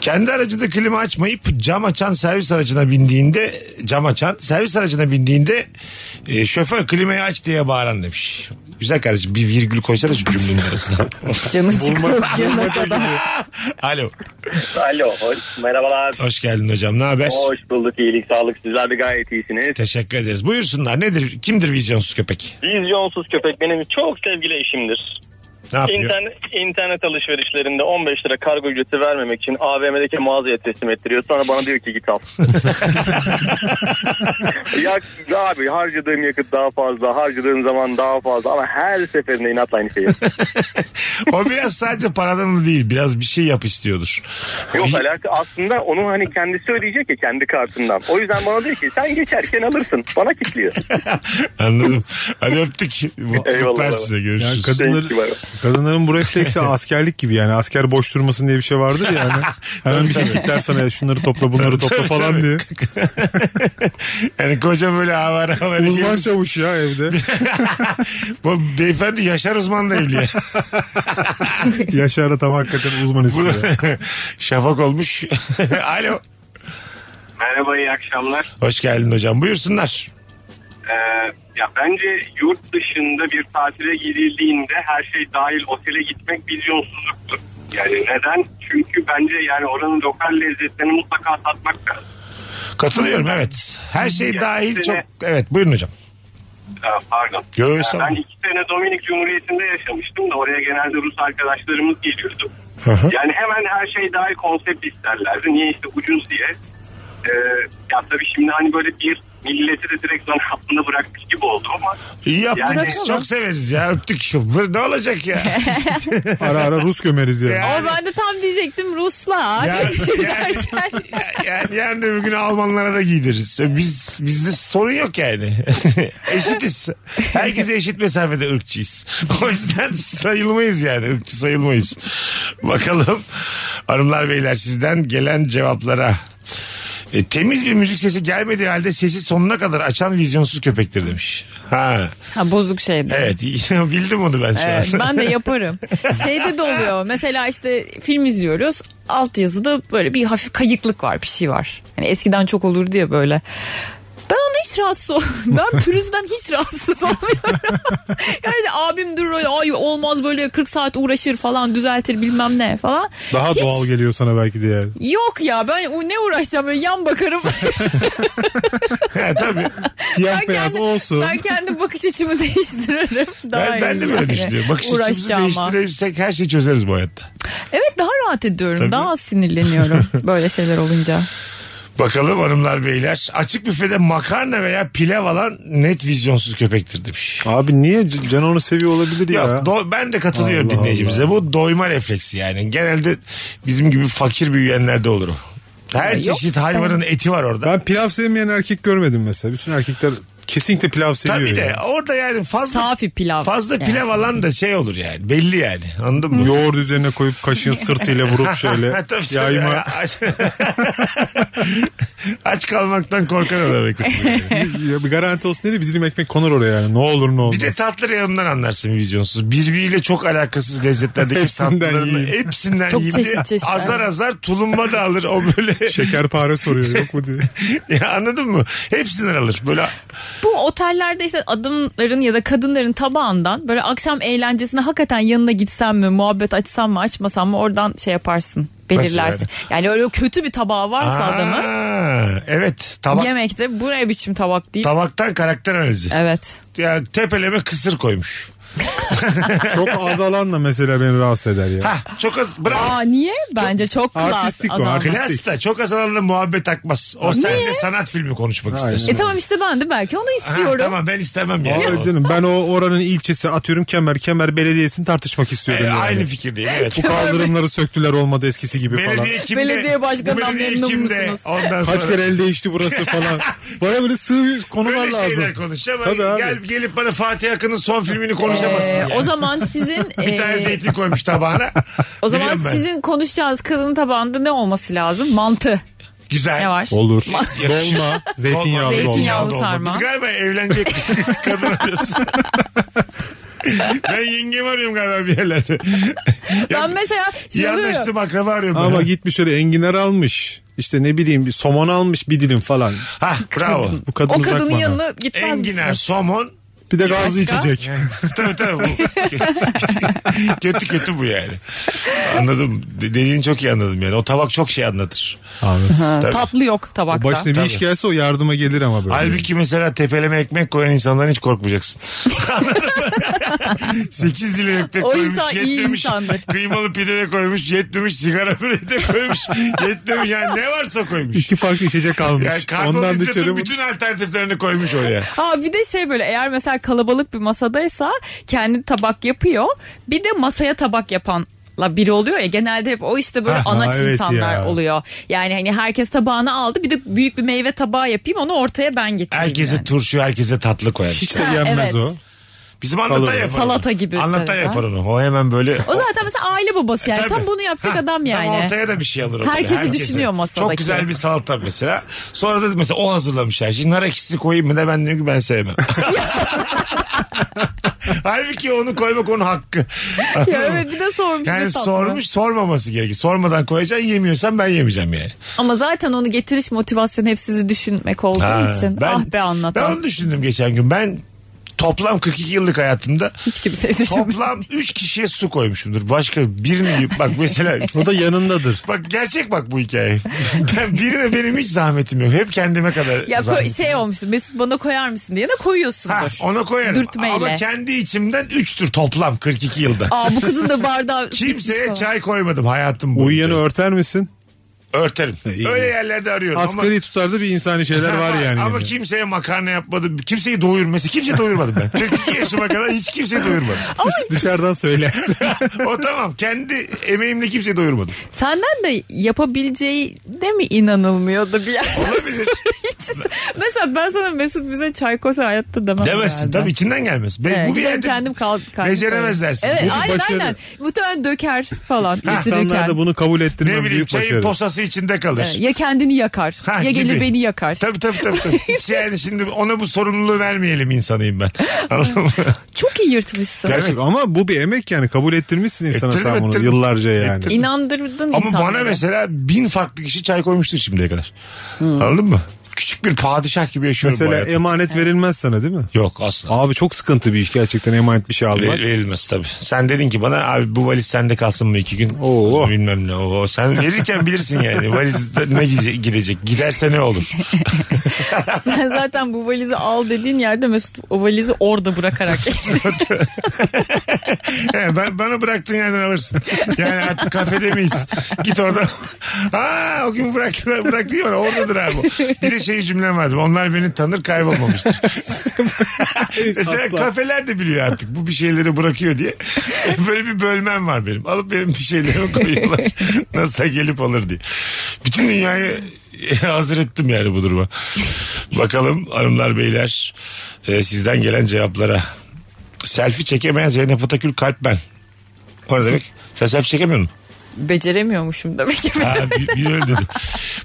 S3: Kendi aracında klima açmayıp cam açan servis aracına bindiğinde... Cam açan servis aracına bindiğinde... e, şoför klimayı aç diye bağıran demiş. Güzel kardeşim bir virgül koysana şu cümlenin arasına.
S4: Canı çıktı okuyana kadar.
S3: Alo.
S7: Alo, hoş, merhabalar.
S3: Hoş geldin hocam. Ne haber?
S7: Hoş bulduk, iyilik, sağlık. Sizler de gayet iyisiniz.
S3: Teşekkür ederiz. Buyursunlar. Nedir? Kimdir vizyonsuz köpek?
S7: Vizyonsuz köpek benim çok sevgili eşimdir.
S3: Ne yapıyor?
S7: İnternet, internet alışverişlerinde 15 lira kargo ücreti vermemek için AVM'deki mağazaya teslim ettiriyor. Sonra bana diyor ki git al. ya abi harcadığım yakıt daha fazla, harcadığım zaman daha fazla ama her seferinde inatla aynı şeyi. yapıyor.
S3: o biraz sadece paradan da değil. Biraz bir şey yap istiyordur.
S7: Yok alaka aslında onu hani kendisi ödeyecek ya kendi kartından. O yüzden bana diyor ki sen geçerken alırsın. Bana kilitliyor.
S3: Anladım. Hadi öptük. Mutluluklar
S7: Eyvallah.
S3: size. Görüşürüz.
S5: Yani
S7: Thank you,
S5: kadınlar,
S7: bay bay.
S5: kadınların bu refleksi askerlik gibi yani. Asker boş durmasın diye bir şey vardır ya. Yani. Hemen bir şey kitler sana ya şunları topla bunları topla
S3: Tabii,
S5: falan
S3: tabii.
S5: diye.
S3: Yani koca böyle avara avara
S5: Uzman
S3: girmiş.
S5: çavuş ya evde.
S3: Bu beyefendi Yaşar Uzman da evli ya.
S5: Yaşar'a tam hakikaten uzman ismi.
S3: Bu-
S5: ya.
S3: Şafak olmuş. Alo.
S8: Merhaba iyi akşamlar.
S3: Hoş geldin hocam. Buyursunlar.
S8: Ee, ya bence yurt dışında bir tatile gidildiğinde her şey dahil otele gitmek vizyonsuzluktur. Yani neden? Çünkü bence yani oranın lokal lezzetlerini mutlaka tatmak lazım.
S3: Katılıyorum evet. Her şey
S8: Ya,
S3: dahil
S8: sene-
S3: çok... Evet buyurun hocam.
S8: Ee, pardon.
S3: Yo,
S8: Ee,
S3: estağfurullah.
S8: ben iki sene Dominik Cumhuriyeti'nde yaşamıştım da oraya genelde Rus arkadaşlarımız geliyordu.
S3: Hı hı.
S8: Yani hemen her şey dahil konsept isterlerdi. Niye işte ucuz diye. Ee, ya tabii şimdi hani böyle bir milleti de direkt zan hattına bırakmış gibi oldu ama
S3: İyi yaptınız.
S8: Yani-
S3: Biz çok severiz ya. Öptük. Bu Ne olacak ya?
S5: Ara ara Rus gömeriz yani.
S3: Ya.
S4: Ama ben de tam diyecektim Ruslar.
S3: Ya-
S4: Derken
S3: yani yarın öbür gün Almanlara da giydiririz. E, Biz bizde sorun yok yani. Eşitiz. Herkese eşit mesafede ırkçıyız. O yüzden sayılmayız yani. Irkçı sayılmayız. Bakalım hanımlar beyler sizden gelen cevaplara. E, temiz bir müzik sesi gelmediği halde sesi sonuna kadar açan vizyonsuz köpektir demiş. Ha
S4: Ha bozuk şeydi.
S3: evet bildim onu ben şu
S4: Evet,
S3: an.
S4: Ee, ben de yaparım. Şeyde de oluyor. Mesela işte film izliyoruz. Altyazıda böyle bir hafif kayıklık var bir şey var. Hani eskiden çok olurdu ya böyle. Ben ona hiç rahatsız ol. Ben pürüzden hiç rahatsız olmuyorum. yani abim durur öyle, ay olmaz böyle 40 saat uğraşır falan düzeltir bilmem ne falan.
S5: Daha
S4: Hiç-
S5: doğal geliyor sana belki de yani.
S4: Yok ya ben u- ne uğraşacağım böyle yan bakarım.
S3: Ha, Tabii.
S5: Siyah
S4: Ben
S5: beyaz
S4: kendi-
S5: olsun.
S4: Ben kendi bakış açımı değiştiririm. Daha
S3: Ben, ben
S4: iyi
S3: de böyle
S4: yani.
S3: düşünüyorum. Bakış açımızı
S4: Uğraşacağıma.
S3: değiştirirsek her şeyi çözeriz bu hayatta.
S4: Evet daha rahat ediyorum.
S3: Tabii.
S4: Daha az sinirleniyorum böyle şeyler olunca.
S3: Bakalım hanımlar beyler. Açık büfede makarna veya pilav alan net vizyonsuz köpektir demiş.
S5: Abi niye C- Can onu seviyor olabilir ya?
S3: Yok, do- ben de katılıyorum
S5: Allah
S3: dinleyicimize.
S5: Allah.
S3: Bu doyma refleksi yani. Genelde bizim gibi fakir büyüyenlerde olur o. Her
S4: Ya yok.
S3: çeşit hayvanın eti var orada.
S5: ben pilav sevmeyen erkek görmedim mesela. Bütün erkekler kesinlikle pilav seviyor.
S3: Tabii de
S5: yani.
S3: orada yani fazla
S4: Safi pilav.
S3: fazla
S4: Yani.
S3: pilav alan da şey olur yani. Belli yani. Anladın mı?
S5: Yoğurdu üzerine koyup kaşığın sırtıyla vurup şöyle
S3: Ha, tabii, tabii.
S5: yayma.
S3: Aç, aç kalmaktan korkan adam ekmek.
S5: Ya bir garanti olsun diye de bir dilim ekmek konur oraya yani. Ne olur ne olmaz.
S3: Bir de tatlı reyonundan anlarsın vizyonsuz. Birbiriyle çok alakasız lezzetlerdeki
S5: Hepsinden
S3: tatlılarını
S5: yiyeyim.
S3: hepsinden
S4: Çok
S3: yiyeyim diye
S4: çeşit çeşit,
S3: azar
S4: evet.
S3: azar tulumba da alır o böyle.
S5: Şekerpare soruyor yok mu diye.
S3: ya anladın mı? Hepsinden alır. Böyle
S4: Bu otellerde işte adımların ya da kadınların tabağından böyle akşam eğlencesine hakikaten yanına gitsem mi, muhabbet açsam mı, açmasam mı oradan şey yaparsın, belirlersin. Yani? öyle kötü bir tabağı varsa adamın
S3: Aa, Evet. Tabak,
S4: yemekte bu ne biçim tabak değil.
S3: tabaktan karakter analizi.
S4: Evet.
S3: Ya tepeleme kısır koymuş.
S5: Çok az alanla mesela beni rahatsız eder ya.
S3: Hah, çok az. Bravo.
S4: Aa niye? Bence çok klas
S5: artistik o,
S4: adam.
S5: artistik.
S3: Klas da çok az alanla muhabbet akmaz. O sende sanat filmi konuşmak
S5: Aynen.
S3: ister.
S4: E tamam işte ben de belki onu
S3: Ha,
S4: istiyorum.
S3: tamam ben istemem ya.
S5: Vallahi canım ben o oranın ilçesi atıyorum kemer kemer belediyesini tartışmak istiyorum.
S3: E,
S5: yani.
S3: aynı fikirdeyim. Evet.
S5: Bu kaldırımları söktüler olmadı eskisi gibi falan.
S3: Belediye kimde?
S4: Belediye başkanından
S3: Bu belediye
S4: memnun
S3: kimde?
S4: musunuz?
S3: Ondan
S5: Kaç
S3: sonra
S5: kere el değişti burası falan. Bana böyle sığ konular
S3: böyle
S5: lazım.
S3: şeyler konuşacağım. Hani
S5: Tabii abi.
S3: Gel, gelip bana Fatih Akın'ın son filmini konuşamazsın.
S4: Ee,
S3: yani.
S4: o zaman sizin
S3: Bir tane
S4: ee,
S3: zeytin koymuş tabağına.
S4: o zaman
S3: Biliyorum ben.
S4: sizin konuşacağınız kadının tabağında ne olması lazım? Mantı.
S3: Güzel.
S4: Ne var?
S5: Olur.
S3: Yakışır.
S5: Dolma, zeytinyağlı
S3: Olmaz.
S5: dolma.
S4: Zeytinyağlı
S3: Olmaz.
S4: sarma.
S3: Biz galiba evlenecek kadın arıyoruz. ben yengemi arıyorum galiba bir yerlerde.
S4: Ben mesela şey oluyor.
S3: Yanlıştım akraba arıyorum.
S5: Ama
S3: ben.
S5: gitmiş öyle enginar almış. İşte ne bileyim bir somon almış bir dilim falan.
S3: Ha bravo.
S5: Bu kadın
S4: O
S5: uzak
S4: kadının
S5: bana.
S4: yanına gitmez
S3: Enginar,
S4: misiniz?
S3: somon.
S5: Bir de gazlı
S4: Başka?
S5: içecek.
S3: tabii tabii. Bu. kötü kötü bu yani. Anladım. De- Dediğini çok iyi anladım yani. O tabak çok şey anlatır.
S5: Ahmet.
S3: Tabii.
S4: Tatlı yok tabakta.
S5: Başına bir iş gelse o yardıma gelir ama böyle.
S3: Halbuki mesela tepeleme ekmek koyan insandan hiç korkmayacaksın. Anladın mı? Sekiz dilim ekmek
S4: O
S3: koymuş
S4: insan iyi
S3: yetmemiş.
S4: insandır.
S3: Kıymalı pide de koymuş yetmemiş. Sigara böreği de koymuş yetmemiş. Yani ne varsa koymuş.
S5: İki farklı içecek
S3: Yani
S5: almış. Ondan dışarı
S3: karbonhidratın
S5: bu-
S3: bütün alternatiflerini koymuş oraya.
S4: Ha bir de şey böyle eğer mesela kalabalık bir masadaysa kendi tabak yapıyor. Bir de masaya tabak yapanla biri oluyor ya genelde hep o işte böyle
S5: Ha,
S4: anaç
S5: evet
S4: insanlar
S5: ya.
S4: oluyor. Yani hani herkes tabağını aldı bir de büyük bir meyve tabağı yapayım onu ortaya ben getireyim.
S3: Herkese
S4: yani.
S3: turşu, herkese tatlı koyar.
S5: Hiç de
S4: Ha,
S5: yenmez
S4: evet.
S5: o.
S3: Bizim anlatan
S5: Kalır.
S3: yapar. onu.
S4: Salata gibi
S3: Anlatan
S4: tabii,
S3: yapar onu. O hemen böyle
S4: O zaten mesela aile babası yani tam
S3: E, Tabii.
S4: bunu yapacak
S3: Ha,
S4: adam yani.
S3: Tam ortaya da bir şey alır. o
S4: Herkesi
S3: böyle,
S4: düşünüyor masadaki.
S3: Çok güzel bir salata mesela. Sonra da mesela o hazırlamış her şeyi. Nar ekşisi koyayım mı da ben diyorum ki ben sevmem. Halbuki onu koymak onun hakkı.
S4: Ya evet bir de sormuş ne
S3: Yani
S4: tatlı.
S3: sormuş sormaması gerekir. Sormadan koyacaksın yemiyorsan ben yemeyeceğim yani.
S4: Ama zaten onu getiriş motivasyonu hep sizi düşünmek olduğu
S3: Ha,
S4: için. ah be
S3: Ben
S4: anlatan.
S3: onu düşündüm geçen gün. Ben toplam 42 yıllık hayatımda
S4: Hiç kimseyi düşünmüyor.
S3: toplam 3 kişiye su koymuşumdur. Başka birini bak mesela
S5: O da yanındadır.
S3: Bak gerçek bak bu hikaye. Ben birine benim hiç zahmetim yok. Hep kendime kadar
S4: Ya koy,
S3: zahmetim.
S4: şey olmuştu Mesut bana koyar mısın diye de koyuyorsundur.
S3: Ha, ona koyarım.
S4: Dürtmeyle.
S3: Ama kendi içimden 3'tür toplam 42 yılda.
S4: Aa şey bu kızın da bardağı
S3: Kimseye
S4: bitmiş falan.
S3: çay koymadım hayatım boyunca.
S5: Uyuyanı örter misin?
S3: örterim.
S5: iyi.
S3: Öyle yerlerde arıyorum
S5: Asgari
S3: ama
S5: tutarda bir insani şeyler var yani.
S3: Ama
S5: yani.
S3: kimseye makarna yapmadım. Kimseyi doyurmadım. Mesela kimseyi doyurmadım ben. 42 yaşıma kadar hiç kimseyi doyurmadım.
S5: Dışarıdan söylersin.
S3: o tamam. Kendi emeğimle kimseyi doyurmadım.
S4: Senden de yapabileceğine mi inanılmıyordu bir yerde?
S3: Olabilir.
S4: Hiç- Mesela ben sana Mesut bize çay koysa hayatta demem.
S3: Demezsin.
S4: herhalde.
S3: Tabii içinden gelmez. Be-
S4: Evet,
S3: bu bir
S4: giderim
S3: yerde
S4: kendim kal, kendim
S3: beceremez
S4: koyarım.
S3: dersin. Bu
S4: Evet
S3: bir
S4: aynen
S5: başarı.
S4: aynen. Muhtemelen döker falan.
S5: İnsanlar
S4: getirirken.
S5: da bunu kabul ettirmem
S3: ne bileyim
S5: büyük
S3: çayın
S5: başarı.
S3: posası içinde kalır.
S4: Evet, Ya kendini yakar
S3: Ha,
S4: ya gelir
S3: gibi.
S4: beni yakar.
S3: Tabii tabii tabii. tabii. Hiç yani şimdi ona bu sorumluluğu vermeyelim insanıyım ben. Anladın mı?
S4: Çok iyi yırtmışsın.
S3: Gerçekten
S5: Gerçek ama bu bir emek yani kabul ettirmişsin insana
S3: Ettirdim,
S5: sen bunu
S3: ettirdim.
S5: yıllarca yani.
S3: Ettirdim.
S4: İnandırdın
S3: Ama
S4: insanları.
S3: bana mesela bin farklı kişi çay koymuştur şimdiye kadar.
S4: Hmm.
S3: Anladın mı? Küçük bir padişah gibi yaşıyorum bu
S5: Mesela
S3: hayatı.
S5: emanet verilmez sana değil mi?
S3: Yok asla.
S5: Abi çok sıkıntı bir iş gerçekten emanet bir şey almak.
S3: Ver- verilmez tabii. Sen dedin ki bana abi bu valiz sende kalsın mı iki gün?
S5: Oo.
S3: Bilmem ne. Oo. Sen verirken bilirsin yani. Valiz ne gide- gidecek? Giderse ne olur?
S4: Sen zaten bu valizi al dediğin yerde Mesut o valizi orada bırakarak
S3: He, ben, bana bıraktığın yerden alırsın. Yani artık kafede miyiz? Git oradan. Ha o gün bıraktılar. Bıraktı ya bana, oradadır abi. o. Bir de şey cümlem vardı. Onlar beni tanır kaybolmamıştır. Mesela
S5: Asla.
S3: kafeler de biliyor artık bu bir şeyleri bırakıyor diye. Böyle bir bölmem var benim. Alıp benim bir şeylerimi koyuyorlar. Nasılsa gelip alır diye. Bütün dünyayı hazır ettim yani bu duruma. Bakalım hanımlar beyler e, sizden gelen cevaplara. Selfie çekemeyen Zeynep Atakül kalp ben. O ne demek? Sen selfie çekemiyor musun?
S4: Beceremiyormuşum demek ki.
S3: Ha, bir, bir öyle dedi.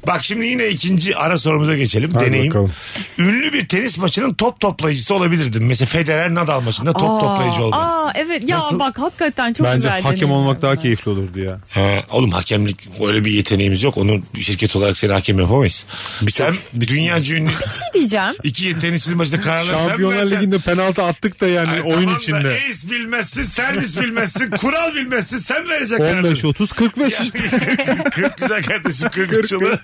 S3: Bak şimdi yine ikinci ara sorumuza geçelim.
S5: Hadi
S3: Deneyim.
S5: bakalım.
S3: Ünlü bir tenis maçının top toplayıcısı olabilirdim. Mesela Federer Nadal maçında top
S4: Aa,
S3: toplayıcı oldu.
S4: Aa evet ya
S3: Nasıl?
S4: bak hakikaten çok
S5: Bence
S4: güzel.
S5: hakem
S4: deneyim.
S5: olmak daha keyifli olurdu ya.
S3: He, oğlum hakemlik öyle bir yeteneğimiz yok. Onu bir şirket olarak seni hakem yapamayız. Sen dünya ünlü
S4: Bir şey diyeceğim.
S3: iki yeteneğin maçında kararlar sen mi
S5: Şampiyonlar
S3: vereceksin?
S5: Ligi'nde penaltı attık da yani
S3: Ay,
S5: oyun
S3: tamam da
S5: içinde.
S3: ace bilmezsin, servis bilmezsin, kural bilmezsin. Sen verecek kararı.
S5: 15 30 45 işte.
S3: 40 güzel kardeşim 40 üç olur.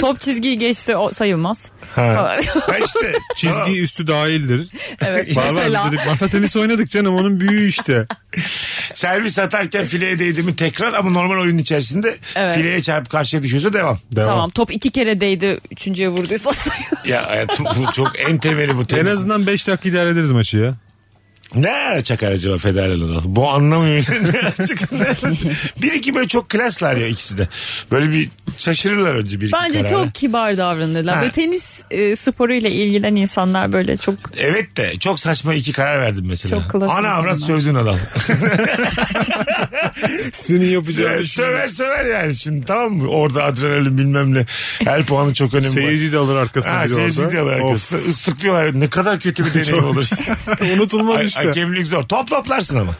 S4: Top çizgiyi geçti o sayılmaz.
S3: Ha. Ha işte. Tamam.
S5: Çizgi üstü dahildir.
S4: Evet
S5: Var var
S4: mesela.
S5: bizde de- masa tenisi oynadık canım onun büyüğü işte.
S3: Servis atarken fileye değdi mi tekrar ama normal oyunun içerisinde
S4: Evet.
S3: fileye çarpıp karşıya düşüyorsa devam.
S5: Devam.
S4: Tamam top iki kere değdi üçüncüye vurduysa sayılır.
S3: Ya hayatım bu çok en temeli bu
S5: En
S3: tenis.
S5: azından 5 dakika idare ederiz maçı ya.
S3: Ne ara çakar acaba Federer'le Nadal? Bu anlamıyor. Ne ara çıkar? bir iki böyle çok klaslar ya ikisi de. Böyle bir şaşırırlar önce bir iki
S4: Bence
S3: karara.
S4: çok kibar davranırlar.
S3: Ha.
S4: Ve tenis e, sporuyla ilgilen insanlar böyle çok
S3: Evet de çok saçma iki karar verdim mesela.
S4: Çok klas
S3: Ana avrat
S4: insanlar.
S3: sövdün adam.
S5: Senin
S3: söver, söver söver yani şimdi tamam mı? Orada adrenalin bilmem ne. Her puanı çok önemli.
S5: Seyirci de alır arkasına
S3: şey. Ha,
S5: bir de
S3: seyirci
S5: orada.
S3: diyorlar.
S5: Of.
S3: arkasında. Islıklıyorlar. Ne kadar kötü bir deneyim olur.
S5: Unutulmaz
S3: Ay-
S5: işte.
S3: Hakemlik zor. Top toplarsın ama.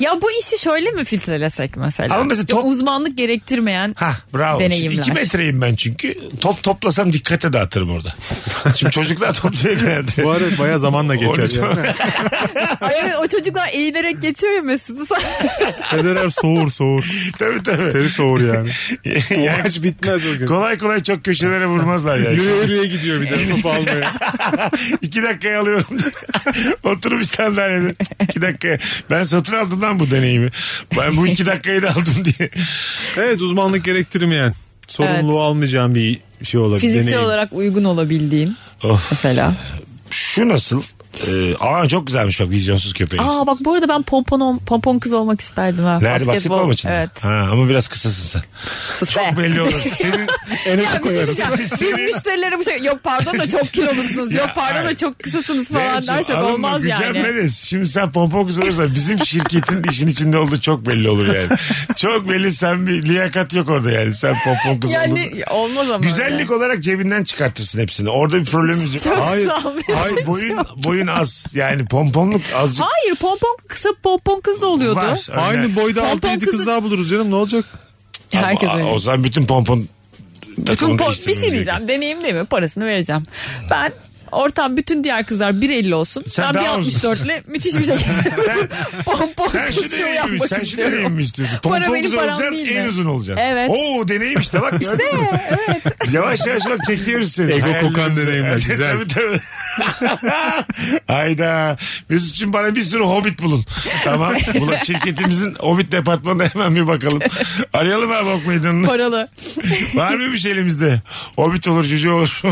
S4: Ya bu işi şöyle mi filtrelesek mesela?
S3: Ama mesela
S4: Ya
S3: top-
S4: Uzmanlık gerektirmeyen
S3: Ha bravo.
S4: Deneyimler.
S3: 2 metreyim ben çünkü. Top toplasam dikkate dağıtırım orada. Şimdi çocuklar topluyor genelde.
S5: Bu ara baya zamanla geçer ya.
S4: Ay evet, o çocuklar eğilerek geçiyor ya Mesut'u. Sen-
S5: Federer soğur soğur.
S3: tabii tabii.
S5: Teri soğur yani. O
S3: Yani
S5: maç bitmez o gün.
S3: kolay kolay çok köşelere vurmazlar yani.
S5: Yürüye yürüye gidiyor bir de topu almaya.
S3: İki dakikaya alıyorum. Oturup sandalyede. İki dakikaya. Ben satın aldım lan bu deneyimi. Ben bu iki dakikayı da aldım diye.
S5: Evet uzmanlık gerektirmeyen. Sorumluluğu
S4: Evet.
S5: almayacağım bir şey olabilir.
S4: Fiziksel
S5: deneyim.
S4: olarak uygun olabildiğin
S3: Of.
S4: mesela.
S3: Şu nasıl? Ee, aa çok güzelmiş bak vizyonsuz köpeğin.
S4: Aa bak bu arada ben pompon, ol- pompon kız olmak isterdim ha.
S3: Nerede basketbol, maçında?
S4: Evet.
S3: Ha, ama biraz kısasın sen.
S4: Sus
S3: Çok
S4: be.
S3: belli olur. Senin
S4: Ya bir şey diyeceğim. Biz müşterilere bu şey yok pardon da çok kilolusunuz yok
S3: Ya,
S4: pardon da
S3: hayır.
S4: çok kısasınız falan
S3: Benim için
S4: dersek
S3: alınma,
S4: olmaz yani.
S3: gücenmeniz. Şimdi sen pompon kız olursan bizim şirketin işin içinde olduğu çok belli olur yani. çok belli sen bir liyakat yok orada yani. Sen pompon kız oldun.
S4: Yani olmaz ama.
S3: Güzellik olarak cebinden çıkartırsın hepsini. Orada bir problemimiz yok.
S4: Çok
S3: Hayır.
S4: sağ ol.
S3: Hayır boyun boyun az yani pomponluk azıcık
S4: Hayır pompon kısa pompon kız da oluyordu.
S3: var.
S5: Aynı boyda
S4: Pompon
S5: 6-7 kız
S4: kızı-
S5: daha buluruz canım ne olacak?
S4: Herkes
S3: Ama,
S4: öyle.
S3: O zaman bütün pompon
S4: Bütün
S3: takımını
S4: po- bir
S3: değiştirmemiz
S4: şey diyeceğim.
S3: gerekiyor.
S4: Deneyim değil mi? Parasını vereceğim. Ben ortam bütün diğer kızlar 1.50 olsun.
S3: Sen
S4: ben
S3: daha
S4: 1.64 ile müthiş bir şekilde pompon
S3: Sen şu
S4: kız şov
S3: deneyim mi?
S4: şey yapmak
S3: Sen şu
S4: istiyorum.
S3: deneyim mi istiyorsun?
S4: Para
S3: Pompon
S4: benim
S3: kız
S4: param
S3: olacaksın
S4: değil
S3: en
S4: mi?
S3: uzun olacaksın.
S4: Evet.
S3: Oo deneyim işte bak. İşte Yavaş yavaş bak çekiyoruz seni.
S5: Ego kokan
S3: Hayallerimize.
S5: deneyimler,
S3: Evet,
S5: güzel.
S3: tabii tabii. Hayda. Mesut'cum bana bir sürü hobbit bulun. Tamam. Bula şirketimizin hobbit departmanına hemen bir bakalım. Arayalım abi ok meydanını.
S4: Paralı.
S3: Var mı bir şey elimizde? Hobbit olur cüce olur.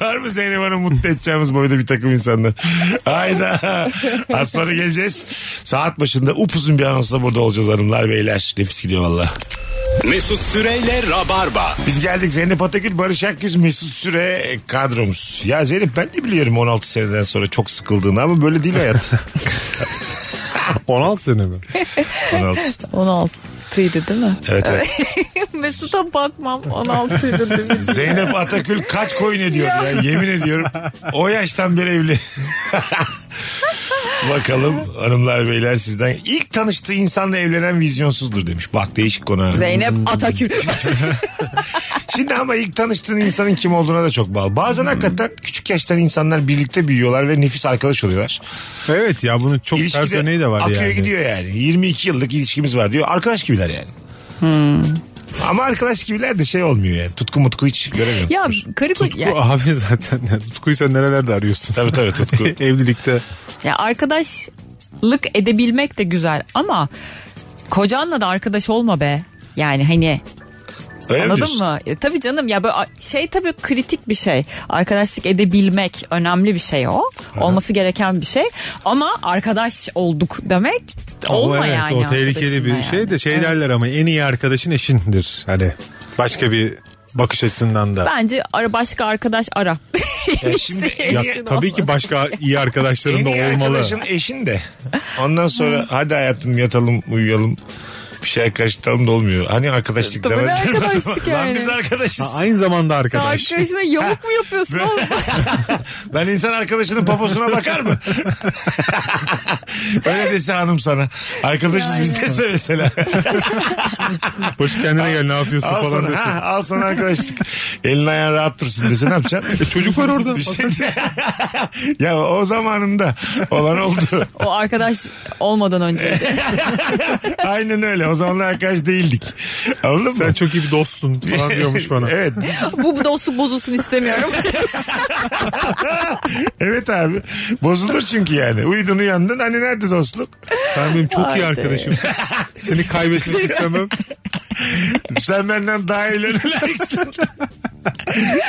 S3: Var mı Zeynep Hanım mutlu edeceğimiz boyda bir takım insanlar? Hayda. Az sonra geleceğiz. Saat başında upuzun bir anonsla burada olacağız hanımlar beyler. Nefis gidiyor valla.
S2: Mesut Süreyle Rabarba.
S3: Biz geldik Zeynep Atakül, Barış Akgüz, Mesut Süre kadromuz. Ya Zeynep ben de biliyorum 16 seneden sonra çok sıkıldığını ama böyle değil hayat.
S5: 16 sene mi?
S3: 16.
S4: 16'ydı değil mi?
S3: Evet evet.
S4: Mesut'a bakmam 16'ydı değil mi?
S3: Zeynep Atakül kaç koyun ediyor ya yemin ediyorum. O yaştan beri evli. Bakalım hanımlar beyler sizden ilk tanıştığı insanla evlenen vizyonsuzdur demiş. Bak değişik konu. ha.
S4: Zeynep Atakül.
S3: Şimdi ama ilk tanıştığın insanın kim olduğuna da çok bağlı. Bazen hakikaten küçük yaştan insanlar birlikte büyüyorlar ve nefis arkadaş oluyorlar.
S5: Evet ya bunun çok ters örneği de var
S3: akıyor
S5: yani.
S3: gidiyor yani. 22 yıllık ilişkimiz var diyor. Arkadaş gibiler yani.
S4: Hmm.
S3: Ama arkadaş gibiler de şey olmuyor yani. Tutku mutku hiç göremiyorum.
S4: ya karı koca-
S5: Bu
S4: ya,
S5: abi zaten yani tutkuyu sen nerelerde arıyorsun?
S3: Tabii tabii tutku.
S5: Evlilikte.
S4: ya arkadaşlık edebilmek de güzel ama kocanla da arkadaş olma be. Yani hani
S3: Öyle mi
S4: Anladın
S3: diyorsun?
S4: mı? E, tabii canım ya böyle a- şey tabii kritik bir şey. Arkadaşlık edebilmek önemli bir şey o. Olması gereken bir şey. Ama arkadaş olduk demek olma
S5: Ama evet,
S4: yani.
S5: O tehlikeli
S4: arkadaşınla
S5: bir
S4: yani.
S5: şey de şey
S4: Evet.
S5: derler ama en iyi arkadaşın eşindir. Hani başka bir bakış açısından da.
S4: Bence ara başka arkadaş ara.
S3: Ya şimdi en
S5: Ya
S3: iyi-
S5: tabii ki başka iyi arkadaşların
S3: en
S5: da
S3: iyi
S5: olmalı.
S3: arkadaşın eşin de. Ondan sonra hadi hayatım yatalım uyuyalım. Bir şey karıştıralım da olmuyor. Hani arkadaşlık
S4: Tabii
S3: demez.
S4: ne arkadaşlık
S3: Lan
S4: yani?
S3: biz arkadaşız.
S5: Ha, aynı zamanda arkadaş.
S4: Arkadaşına yamuk mu yapıyorsun oğlum?
S3: ben insan arkadaşının poposuna bakar mı? Öyle dese hanım sana. Arkadaşız biz dese mesela.
S5: Boş kendine gel ne yapıyorsun
S3: al
S5: falan
S3: sana,
S5: desin.
S3: ha, al sana arkadaşlık. Elin ayağın rahat dursun dese ne yapacaksın?
S5: E, çocuk var orada.
S3: Bir şey ya o zamanında olan oldu.
S4: o arkadaş olmadan önce.
S3: Aynen öyle. O zamanlar arkadaş değildik. Anladın
S5: Sen
S3: mı?
S5: çok iyi bir dostsun falan diyormuş bana.
S3: Evet.
S4: Bu dostluk bozulsun istemiyorum.
S3: Evet abi. Bozulur çünkü yani. Uyudun uyandın. Hani nerede dostluk?
S5: Sen benim çok iyi
S4: Haydi.
S5: arkadaşımsın. Seni kaybetmek istemem.
S3: Sen benden daha eğlenceli layıksın.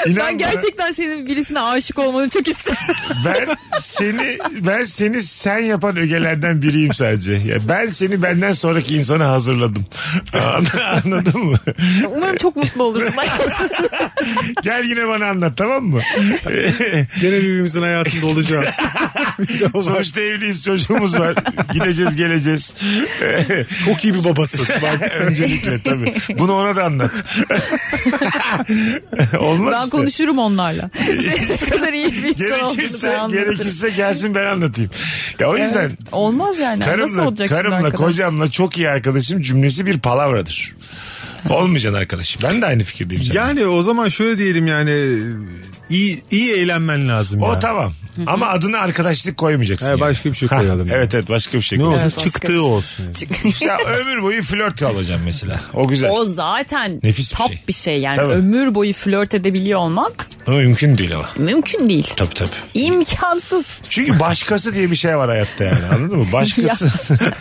S3: İnan
S4: ben
S3: bana.
S4: gerçekten senin birisine aşık olmanı çok isterim.
S3: ben seni ben seni sen yapan ögelerden biriyim sadece. Ya ben seni benden sonraki insana hazırladım. An- Anladın mı?
S4: Umarım çok mutlu olursun.
S3: Gel yine bana anlat tamam mı?
S5: Gene birbirimizin hayatında olacağız.
S3: Sonuçta evliyiz çocuğumuz var. Gideceğiz geleceğiz. E,
S5: çok iyi bir babasın. Bak.
S3: Öncelikle tabii. Bunu ona da anlat. Olmaz
S4: ben
S3: işte.
S4: konuşurum onlarla. ne kadar iyi bir insan olduğunu ben
S3: Gerekirse,
S4: anlatırım.
S3: gerekirse gelsin ben anlatayım. Ya o yüzden
S4: Olmaz yani. Nasıl
S3: karımla,
S4: olacak şimdi
S3: karımla
S4: arkadaş?
S3: kocamla çok iyi arkadaşım cümlesi bir palavradır. Olmayacaksın arkadaşım. Ben de aynı fikirdeyim. seninle.
S5: Yani o zaman şöyle diyelim yani iyi iyi eğlenmen lazım
S3: O
S5: ya.
S3: tamam. Ama adına arkadaşlık koymayacaksın.
S5: He,
S3: yani.
S5: başka bir şey
S3: Ha,
S5: koyalım yani.
S3: Evet evet başka bir şey
S5: Ne
S3: koyalım.
S5: olsun
S4: Evet, başka bir şey.
S5: çıktığı olsun. yani.
S3: ya ömür boyu flört alacağım mesela. O güzel.
S4: O zaten
S3: Nefis bir
S4: top
S3: şey.
S4: bir şey yani
S3: Tabii.
S4: ömür boyu flört edebiliyor olmak
S3: Ama mümkün değil ama.
S4: mümkün değil.
S3: Tabii tabii.
S4: İmkansız.
S3: Çünkü başkası diye bir şey var hayatta yani anladın mı? Başkası.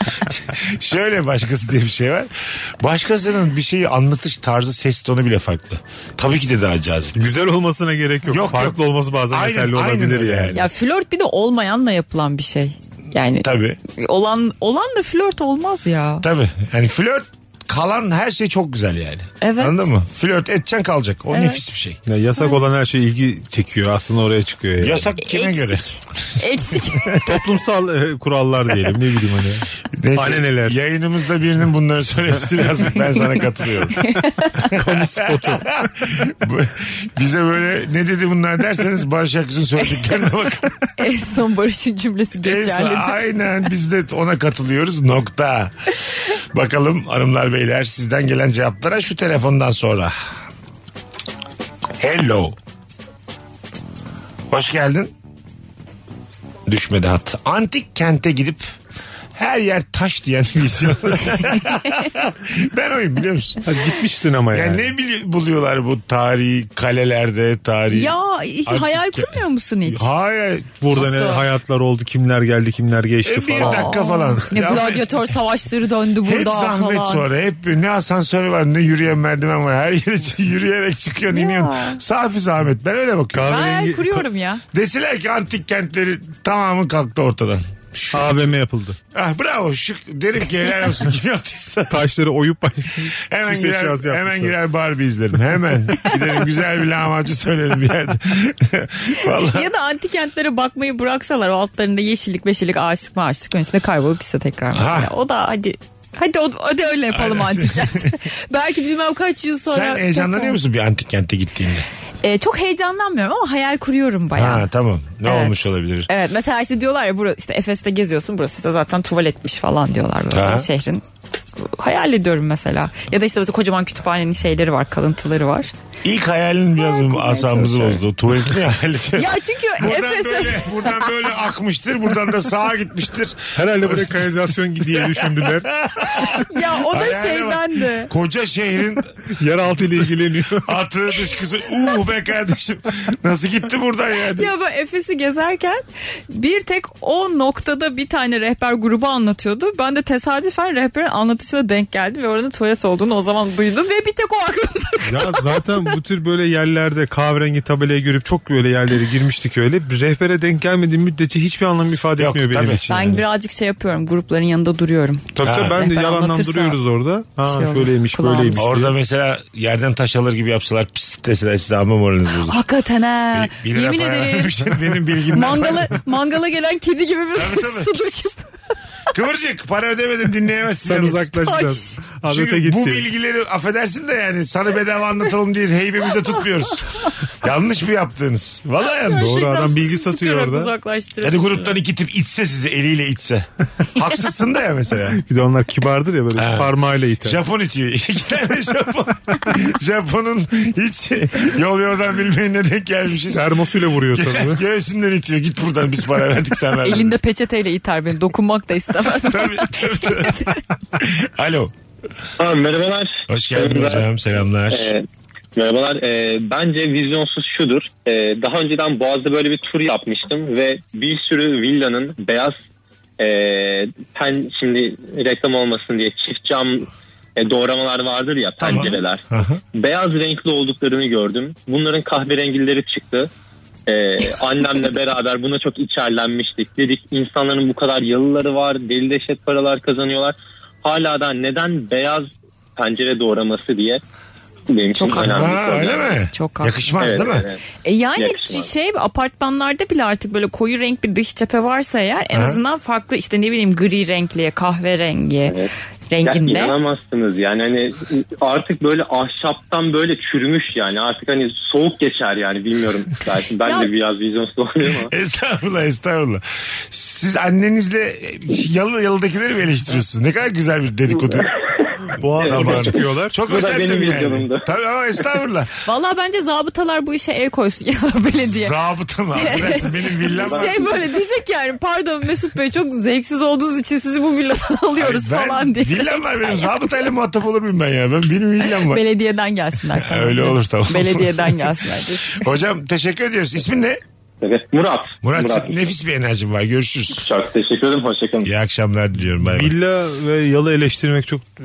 S3: Şöyle başkası diye bir şey var. Başkasının bir şeyi anlatış tarzı ses tonu bile farklı. Tabii ki de daha cazip.
S5: Güzel olmasına gerek yok.
S3: Yok,
S5: Farklı
S3: yok.
S5: olması bazen
S3: Aynen,
S5: yeterli
S3: aynen
S5: olabilir
S3: öyle
S5: yani.
S3: yani.
S4: Ya flört bir de olmayanla yapılan bir şey. Yani
S3: Tabii.
S4: olan olan da flört olmaz ya.
S3: Tabii. Yani flört kalan her şey çok güzel yani.
S4: Evet.
S3: Anladın mı? Flört edeceksin kalacak. O
S4: Evet.
S3: nefis bir şey.
S5: Ya yasak olan her şey ilgi çekiyor. Aslında oraya çıkıyor yani.
S3: Yasak kime
S4: Eksik.
S3: göre?
S4: Eksik.
S5: Toplumsal e, kurallar diyelim. Ne bileyim hani.
S3: Neyse,
S5: Haneneler.
S3: Yayınımızda birinin bunları söylemesi lazım. Ben sana katılıyorum.
S5: Kamu spotu.
S3: Bu- Bize böyle ne dedi bunlar derseniz Barış Akgüz'ün söylediklerine bakın.
S4: en son Barış'ın cümlesi
S3: Neyse,
S4: geçerlidir.
S3: aynen biz de ona katılıyoruz nokta. Bakalım hanımlar beyler sizden gelen cevaplara şu telefondan sonra. Hello. Hoş geldin. Düşmedi hat. Antik kente gidip her yer taş diyen vizyon. ben oyum biliyor musun?
S5: Ha, gitmiş sinemaya.
S3: Yani
S5: Yani.
S3: ne bili- buluyorlar bu tarihi kalelerde tarihi.
S4: Ya hiç
S3: Artık-
S4: hayal kurmuyor musun hiç?
S3: Hayır.
S5: Burada ne
S4: Nasıl?
S5: hayatlar oldu, kimler geldi, kimler geçti
S3: E, bir
S5: falan.
S3: dakika falan.
S4: Ne
S3: Ya,
S4: gladyatör savaşları döndü burada
S3: hep zahmet
S4: falan.
S3: sonra. Hep bir- ne asansör var ne yürüyen merdiven var. Her yere yürüyerek çıkıyorsun iniyorsun. Safi zahmet. Ben öyle bakıyorum.
S4: Ben hayal
S5: Kahverengi-
S4: kuruyorum ya.
S3: Deseler ki antik kentleri tamamı kalktı ortadan. Şu,
S5: AVM yapıldı.
S3: ah, bravo şu derim ki helal olsun kim yaptıysa.
S5: Taşları oyup baş...
S3: Hemen
S5: süs eşyası
S3: girer, hemen
S5: yapmışlar.
S3: girer Barbie izlerim. Hemen giderim güzel bir lahmacun söylerim bir yerde. Vallahi.
S4: Ya da antikentlere bakmayı bıraksalar o altlarında yeşillik beşillik ağaçlık mağaçlık önünde kaybolup gitse tekrar mesela.
S3: Ha.
S4: O da hadi hadi o, o da öyle yapalım antikent. Belki bilmem kaç yıl sonra.
S3: Sen heyecanlanıyor musun bir antik kente gittiğinde?
S4: Ee, çok heyecanlanmıyorum ama hayal kuruyorum bayağı.
S3: Ha tamam. Ne
S4: Evet.
S3: olmuş olabilir?
S4: Evet mesela işte diyorlar ya burası, işte Efes'te geziyorsun burası da zaten tuvaletmiş falan diyorlar böyle
S3: Aha.
S4: şehrin. Hayal ediyorum mesela. Ya da işte mesela kocaman kütüphanenin şeyleri var, kalıntıları var.
S3: İlk hayalin biraz
S4: Hayal kurmaya
S3: asabımızı
S4: çalışıyorum.
S3: bozdu. Tuvaletini hayal ediyorum.
S4: Ya çünkü
S3: Buradan
S4: Efes'e
S3: böyle, buradan böyle akmıştır. Buradan da sağa gitmiştir.
S5: Herhalde buraya kanalizasyon diye düşündüler.
S4: ya o da
S3: Hayale
S4: şeyden de.
S3: bak. Koca şehrin
S5: Yeraltı ile ilgileniyor.
S3: atı dışkısı. Uh be kardeşim. Nasıl gitti buradan yani?
S4: Ya bu Efes'i gezerken bir tek o noktada bir tane rehber grubu anlatıyordu. Ben de tesadüfen rehberin anlatış satışına denk geldim ve oranın tuvalet olduğunu o zaman duydum ve bir tek o aklımda.
S5: Ya zaten bu tür böyle yerlerde kahverengi tabelaya görüp çok böyle yerlere girmiştik öyle. Rehbere denk gelmediğim müddetçe hiçbir anlam ifade
S3: Yok,
S5: etmiyor benim
S3: tabii.
S5: için.
S4: Ben
S5: yani.
S4: birazcık şey yapıyorum grupların yanında duruyorum.
S5: Tabii
S3: Ha.
S5: tabii ben de
S4: Rehber
S5: yalandan
S4: anlatırsa
S5: duruyoruz orada. Ha
S4: şey olur,
S5: şöyleymiş
S4: kulağımız.
S5: böyleymiş. diye.
S3: Orada mesela yerden taş alır gibi yapsalar pis deseler size ama moraliniz bozulur.
S4: Hakikaten ha.
S3: Bir- bir lira
S4: Yemin
S3: para
S4: ederim.
S3: vermişsin, benim bilgim.
S4: Mangala, mangala gelen kedi gibi bir
S3: Tabii, tabii.
S4: su döküp.
S3: Kıvırcık para ödemedim dinleyemezsin.
S5: Sen
S3: yalnız.
S5: uzaklaş
S4: Taş.
S5: biraz. Adete
S3: Çünkü bu
S5: gitti.
S3: bilgileri affedersin de yani sana bedava anlatalım diye heybemizde tutmuyoruz. Yanlış bu yaptığınız? Vallahi yanlış.
S5: Doğru adam bilgi satıyor
S4: Sıkarak
S5: orada.
S4: uzaklaştırıyor.
S3: Ya da gruptan iki tip itse sizi eliyle itse. Haksızsın da ya mesela.
S5: Bir de onlar kibardır ya böyle parmağıyla iter.
S3: Japon itiyor. İki tane Japon. Japon'un hiç yol yordan bilmeyene denk gelmişiz.
S5: Termosuyla vuruyor sana.
S3: Göğsünden itiyor. Git buradan biz para verdik sen ver.
S4: Elinde peçeteyle iter beni. Dokunmak da istemez.
S3: Tabii, tabii, tabii. Alo.
S9: Ha, merhabalar.
S3: Hoş geldin
S9: Merhabalar.
S3: hocam. Selamlar.
S9: Ee, merhabalar. Ee, bence vizyonsuz şudur. Ee, daha önceden Boğaz'da böyle bir tur yapmıştım ve bir sürü villanın beyaz e, pen şimdi reklam olmasın diye çift cam e, doğramalar vardır ya
S3: Tamam.
S9: pencereler.
S3: Aha.
S9: Beyaz renkli olduklarını gördüm. Bunların kahverengileri çıktı. Ee, annemle beraber buna çok içerlenmiştik. Dedik insanların bu kadar yalıları var, deli deşet paralar kazanıyorlar. Hala da neden beyaz pencere doğraması diye benim için
S4: Çok
S9: önemli. bir
S3: Ha,
S9: konu.
S3: öyle mi?
S4: Çok haklı.
S3: Yakışmaz
S9: Evet,
S3: değil mi?
S9: evet.
S4: E yani
S9: Yakışmaz.
S4: şey apartmanlarda bile artık böyle koyu renk bir dış cephe varsa eğer en
S3: Aha.
S4: azından farklı işte ne bileyim gri renkliye kahverengi
S9: Evet. Ya
S4: renginde.
S9: inanamazsınız yani hani artık böyle ahşaptan böyle çürümüş yani artık hani soğuk geçer yani bilmiyorum belki ben
S4: Ya-
S9: de biraz vizyonsuz oluyor ama.
S3: Estağfurullah estağfurullah. Siz annenizle e, yalı yalıdakileri mi eleştiriyorsunuz? Ne kadar güzel bir dedikodu.
S5: Boğazla
S3: Zamanı.
S5: çıkıyorlar.
S3: Çok
S9: Bu da
S3: özel
S9: benim
S3: tabii yani.
S9: videomda.
S3: Tabii ama estağfurullah.
S4: Vallahi bence zabıtalar bu işe el koysun ya belediye.
S3: Zabıta mı? Affedersin, benim villam var.
S4: şey böyle diyecek yani pardon Mesut Bey çok zevksiz olduğunuz için sizi bu villadan alıyoruz
S3: Ay, ben-
S4: falan diye.
S3: Villam var benim. Zabıtayla muhatap olur muyum ben ya? Ben, benim villam var.
S4: Belediyeden gelsinler. tamam.
S3: Öyle olur, tamam.
S4: Belediyeden gelsinler.
S3: Hocam teşekkür ediyoruz. İsmin ne?
S9: Evet, Murat.
S3: Murat'cığım nefis bir enerjim var. Görüşürüz.
S9: Çok teşekkür ederim. Hoşçakalın.
S3: İyi akşamlar diliyorum. Bay bay.
S5: Villa ve yalı eleştirmek çok e,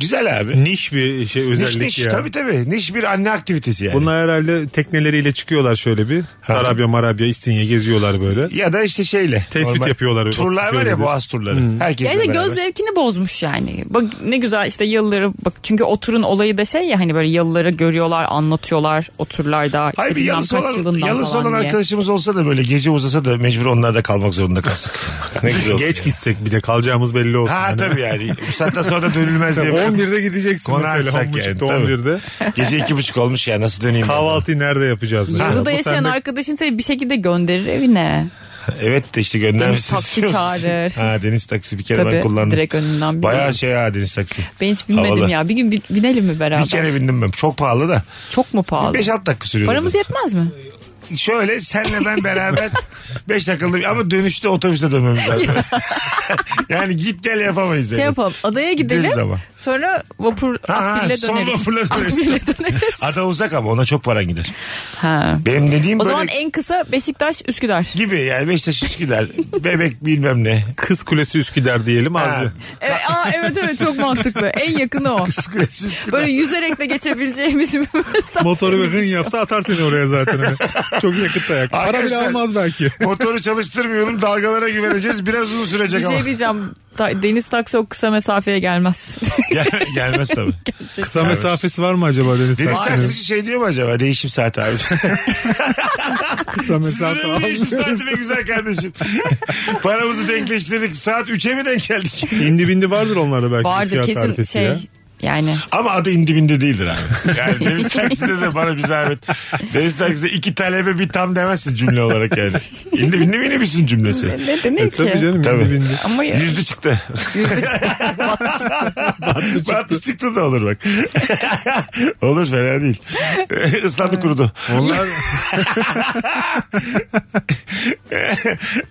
S3: Güzel abi.
S5: niş bir şey
S3: Niş
S5: özellik
S3: niş
S5: ya.
S3: tabii tabii. Niş bir anne aktivitesi yani.
S5: Bunlar herhalde tekneleriyle çıkıyorlar şöyle bir. Arabya marabya İstinye geziyorlar böyle.
S3: Ya da işte şeyle.
S5: Tespit yapıyorlar.
S3: Turlar var
S5: Şöyle
S3: ya
S5: de.
S3: boğaz turları. Herkes
S4: Yani göz zevkini bozmuş yani. Bak ne güzel işte yalıları bak çünkü oturun olayı da şey ya hani böyle yalıları görüyorlar, anlatıyorlar oturlarda işte
S3: Hayır bir
S4: bilmem
S3: yalısı
S4: kaç
S3: olan,
S4: yılından
S3: yalısı
S4: falan
S3: olan
S4: diye.
S3: arkadaşımız olsa da böyle gece uzasa da mecbur onlarda kalmak zorunda kalsak. ne güzel olur
S5: Geç
S3: ya.
S5: gitsek bir de kalacağımız belli olsun.
S3: Ha
S5: Hani.
S3: tabii yani. Bu saatten sonra da dönülmez diye.
S5: 11'de gideceksin mesela.
S3: Konarsak
S5: 10.30'da
S3: yani, tabii.
S5: 11'de.
S3: Gece iki buçuk olmuş ya nasıl döneyim? ben?
S5: Kahvaltıyı nerede yapacağız mesela?
S4: Yalıda
S5: Bu
S4: yaşayan
S5: sende-
S4: arkadaşın seni bir şekilde gönderir evine.
S3: Evet de işte göndermişsiniz.
S4: Deniz taksi çağırır.
S3: Ha, deniz taksi bir kere ben
S4: Tabii
S3: kullandım.
S4: direkt önünden bir
S3: Bayağı şey ha deniz taksi.
S4: Ben hiç bilmedim
S3: Havalı.
S4: ya. Bir gün bi- binelim mi beraber?
S3: Bir kere bindim ben. Çok pahalı da.
S4: Çok mu pahalı?
S3: 5-6 dakika sürüyor.
S4: Paramız yetmez mi? Şey
S3: Şöyle senle ben beraber 5 dakikalık bir- ama dönüşte otobüste dönmemiz lazım. yani git gel yapamayız.
S4: Şey
S3: yani.
S4: yapalım. Adaya
S3: Gideriz ama.
S4: gidelim. Sonra vapur
S3: ha,
S4: Akbil'le
S3: sonra
S4: döneriz.
S3: vapurla döneriz.
S4: Akbil'le döneriz.
S3: Ada uzak ama ona çok paran gider.
S4: Ha.
S3: Benim dediğim
S4: O
S3: böyle
S4: zaman en kısa Beşiktaş Üsküdar.
S3: gibi yani Beşiktaş Üsküdar, Bebek bilmem ne.
S5: Kız Kulesi Üsküdar diyelim
S3: Ha.
S5: az.
S4: Evet, E, aa, evet evet çok mantıklı. En yakını o.
S3: Kıskırası Üsküdar.
S4: Böyle yüzerek de geçebileceğimiz bir mesafe.
S5: Motoru bir hın yapsa atar seni oraya zaten. Hani. Çok yakıt dayak. Para bile
S3: Arkadaşlar-
S5: almaz belki.
S3: Motoru çalıştırmıyorum dalgalara güveneceğiz biraz uzun
S4: Bir
S3: sürecek ama.
S4: şey diyeceğim. Ta- deniz taksi o kısa mesafeye gelmez.
S3: Gel- gelmez tabii.
S5: Kısa mesafesi var mı acaba Deniz
S3: Deniz
S5: Taksim'in?
S3: taksici şey diyor mu acaba değişim saati abi?
S5: Kısa mesafe
S3: Sizin değişim saati
S5: almıyoruz.
S3: be güzel kardeşim. Paramızı denkleştirdik. Saat 3'e mi denk geldik?
S5: İndi bindi vardır onlarda belki.
S4: Vardır
S5: fiyat
S4: kesin
S5: tarifesi
S4: şey.
S5: ya.
S4: Yani
S3: Ama adı indibinde değildir abi. Yani Deniz Taksi'de de bana bir zahmet. Deniz Taksi'de iki talebe bir tam demezsin cümle olarak yani. İndibinde minibüsün cümlesi.
S4: ne denir
S5: E,
S4: ki?
S5: tabii canım
S3: Tabii.
S5: indi bindi.
S4: Ama ya-
S3: Yüzlü çıktı. Battı çıktı da olur bak. olur fena değil. Islandı kurudu.
S5: Onlar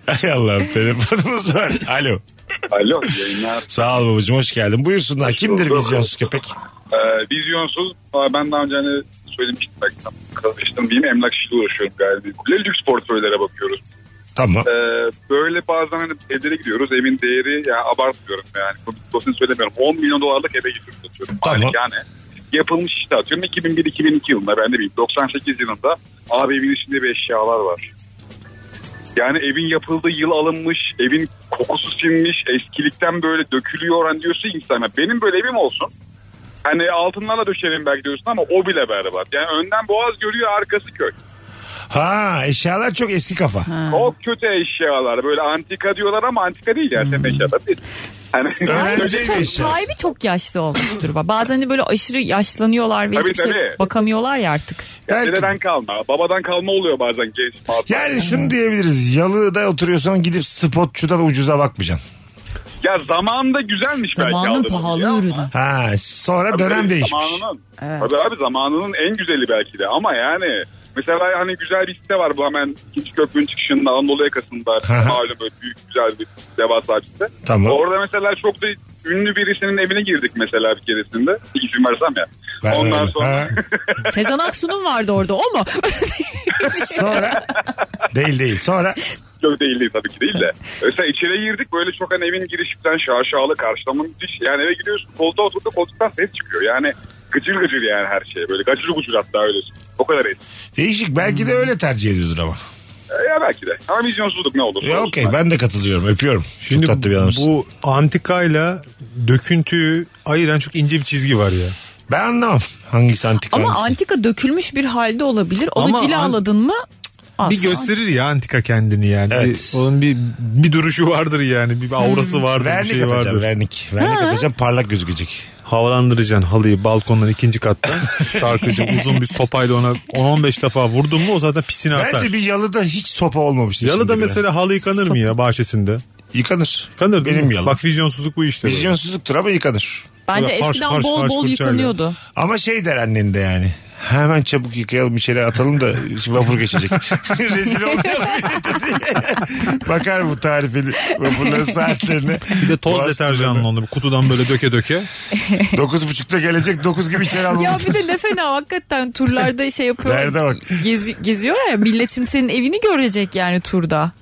S3: Ay Allah'ım telefonumuz var. Alo.
S10: Alo yayınlar.
S3: Sağ ol babacığım hoş geldin. Buyursunlar. Kimdir
S10: bulduk.
S3: vizyonsuz köpek?
S10: Ee, vizyonsuz Aa, ben daha önce hani söylemiştim belki tam karıştım diyeyim emlak işiyle uğraşıyorum galiba. Lüks portföylere bakıyoruz.
S3: Tamam.
S10: Ee, böyle bazen hani evlere gidiyoruz. Evin değeri yani abartmıyorum yani. Dolayısıyla söylemiyorum. 10 milyon dolarlık eve gidiyoruz. Atıyorum.
S3: Tamam.
S10: Yani yapılmış işte atıyorum. 2001-2002 yılında ben de bileyim. 98 yılında abi evin içinde bir eşyalar var. Yani evin yapıldığı yıl alınmış, evin kokusu sinmiş, eskilikten böyle dökülüyor. Hani diyorsun insana benim böyle evim olsun. Hani altınlarla döşerim belki diyorsun ama o bile berbat. Yani önden boğaz görüyor arkası köy.
S3: Ha eşyalar çok eski kafa.
S10: Çok kötü eşyalar. Böyle antika diyorlar ama antika değil yani. Hmm. Eşyalar değil. Hani
S3: Öğrenci
S4: Sahibi çok,
S3: eşyası.
S4: sahibi çok yaşlı olmuştur. bak. Bazen de böyle aşırı yaşlanıyorlar ve
S10: Tabii,
S4: hiçbir şey
S10: tabii.
S4: bakamıyorlar ya artık.
S3: Belki-
S10: Dededen kalma. Babadan kalma oluyor bazen genç.
S3: Yani şunu diyebiliriz. Yalıda oturuyorsan gidip spotçudan ucuza bakmayacaksın.
S10: Ya zamanda güzelmiş belki.
S4: Zamanın
S10: aldığımız
S4: pahalı
S10: ya.
S4: ürünü.
S3: Ha sonra
S10: Tabii
S3: dönem
S10: tabii,
S3: değişmiş.
S10: Zamanının,
S4: Evet.
S10: Tabii abi zamanının en güzeli belki de ama yani mesela hani güzel bir site var bu hemen ikinci köprünün çıkışında Anadolu yakasında
S3: Aha.
S10: malum böyle büyük güzel bir devasa bir site.
S3: Tamam.
S10: Orada mesela çok da ünlü birisinin evine girdik mesela bir keresinde. İki gün versem ya.
S3: Ben
S10: Ondan
S3: öyle.
S10: sonra
S3: Ha,
S4: Sezen Aksu'nun vardı orada o mu?
S3: sonra değil değil sonra
S10: Yok değil değil tabii ki değil de. Mesela içeri girdik böyle çok hani evin girişinden şaşalı karşılama müthiş. Yani eve gidiyorsun koltuğa oturduk koltuktan ses çıkıyor. Yani gıcır gıcır yani her şey böyle. Gıcır gıcır hatta öyle. O kadar eski.
S3: değişik belki de öyle tercih ediyordur ama.
S10: E, ya belki de. Ama vizyonsuzluk ne olur.
S3: E, Okey ben de katılıyorum öpüyorum. Şimdi Çok tatlı bir adamsın.
S5: bu antikayla döküntüyü ayıran çok ince bir çizgi var ya.
S3: Ben anlamam hangisi antik
S4: Ama
S3: hangisi.
S4: antika dökülmüş bir halde olabilir. Onu
S5: Ama an-
S4: cilaladın mı? Cık,
S5: Bir
S4: asla.
S5: gösterir ya antika kendini yani.
S3: Evet.
S5: Bir- onun bir bir duruşu vardır yani. Bir aurası vardır, bir
S3: Hmm. Vernik
S5: şey
S3: atacağım
S5: vardır.
S3: vernik. Vernik atacağım parlak gözükecek.
S5: Havalandıracaksın halıyı balkondan ikinci kattan. Sarkıcı uzun bir sopayla ona 10-15 defa vurdun mu o zaten pisini atar.
S3: Bence bir yalıda hiç sopa olmamıştı.
S5: Yalıda
S3: şimdiye
S5: mesela halı yıkanır mı ya bahçesinde?
S3: kadar. Yıkanır.
S5: Yıkanır değil
S3: Benim
S5: mi?
S3: yalı.
S5: Bak vizyonsuzluk bu işte. böyle.
S3: Vizyonsuzluktur ama yıkanır.
S4: Bence
S5: Böyle harç,
S4: eskiden
S5: harç,
S4: bol
S5: harç
S4: bol
S5: fırçayla.
S4: yıkanıyordu.
S3: Ama şey der annen de yani. Hemen çabuk yıkayalım içeri atalım da vapur geçecek. Rezil olmayalım. millete diye. Bakar bu tarifeli vapurların saatlerine.
S5: Bir de toz deterjanla onu kutudan böyle döke döke.
S3: Dokuz buçukta gelecek dokuz gibi içeri
S4: Ya
S3: almamız.
S4: bir de ne fena hakikaten turlarda şey
S3: Nerede
S4: yapıyor.
S3: bak.
S4: Gezi, geziyor ya millet şimdi senin evini görecek yani turda.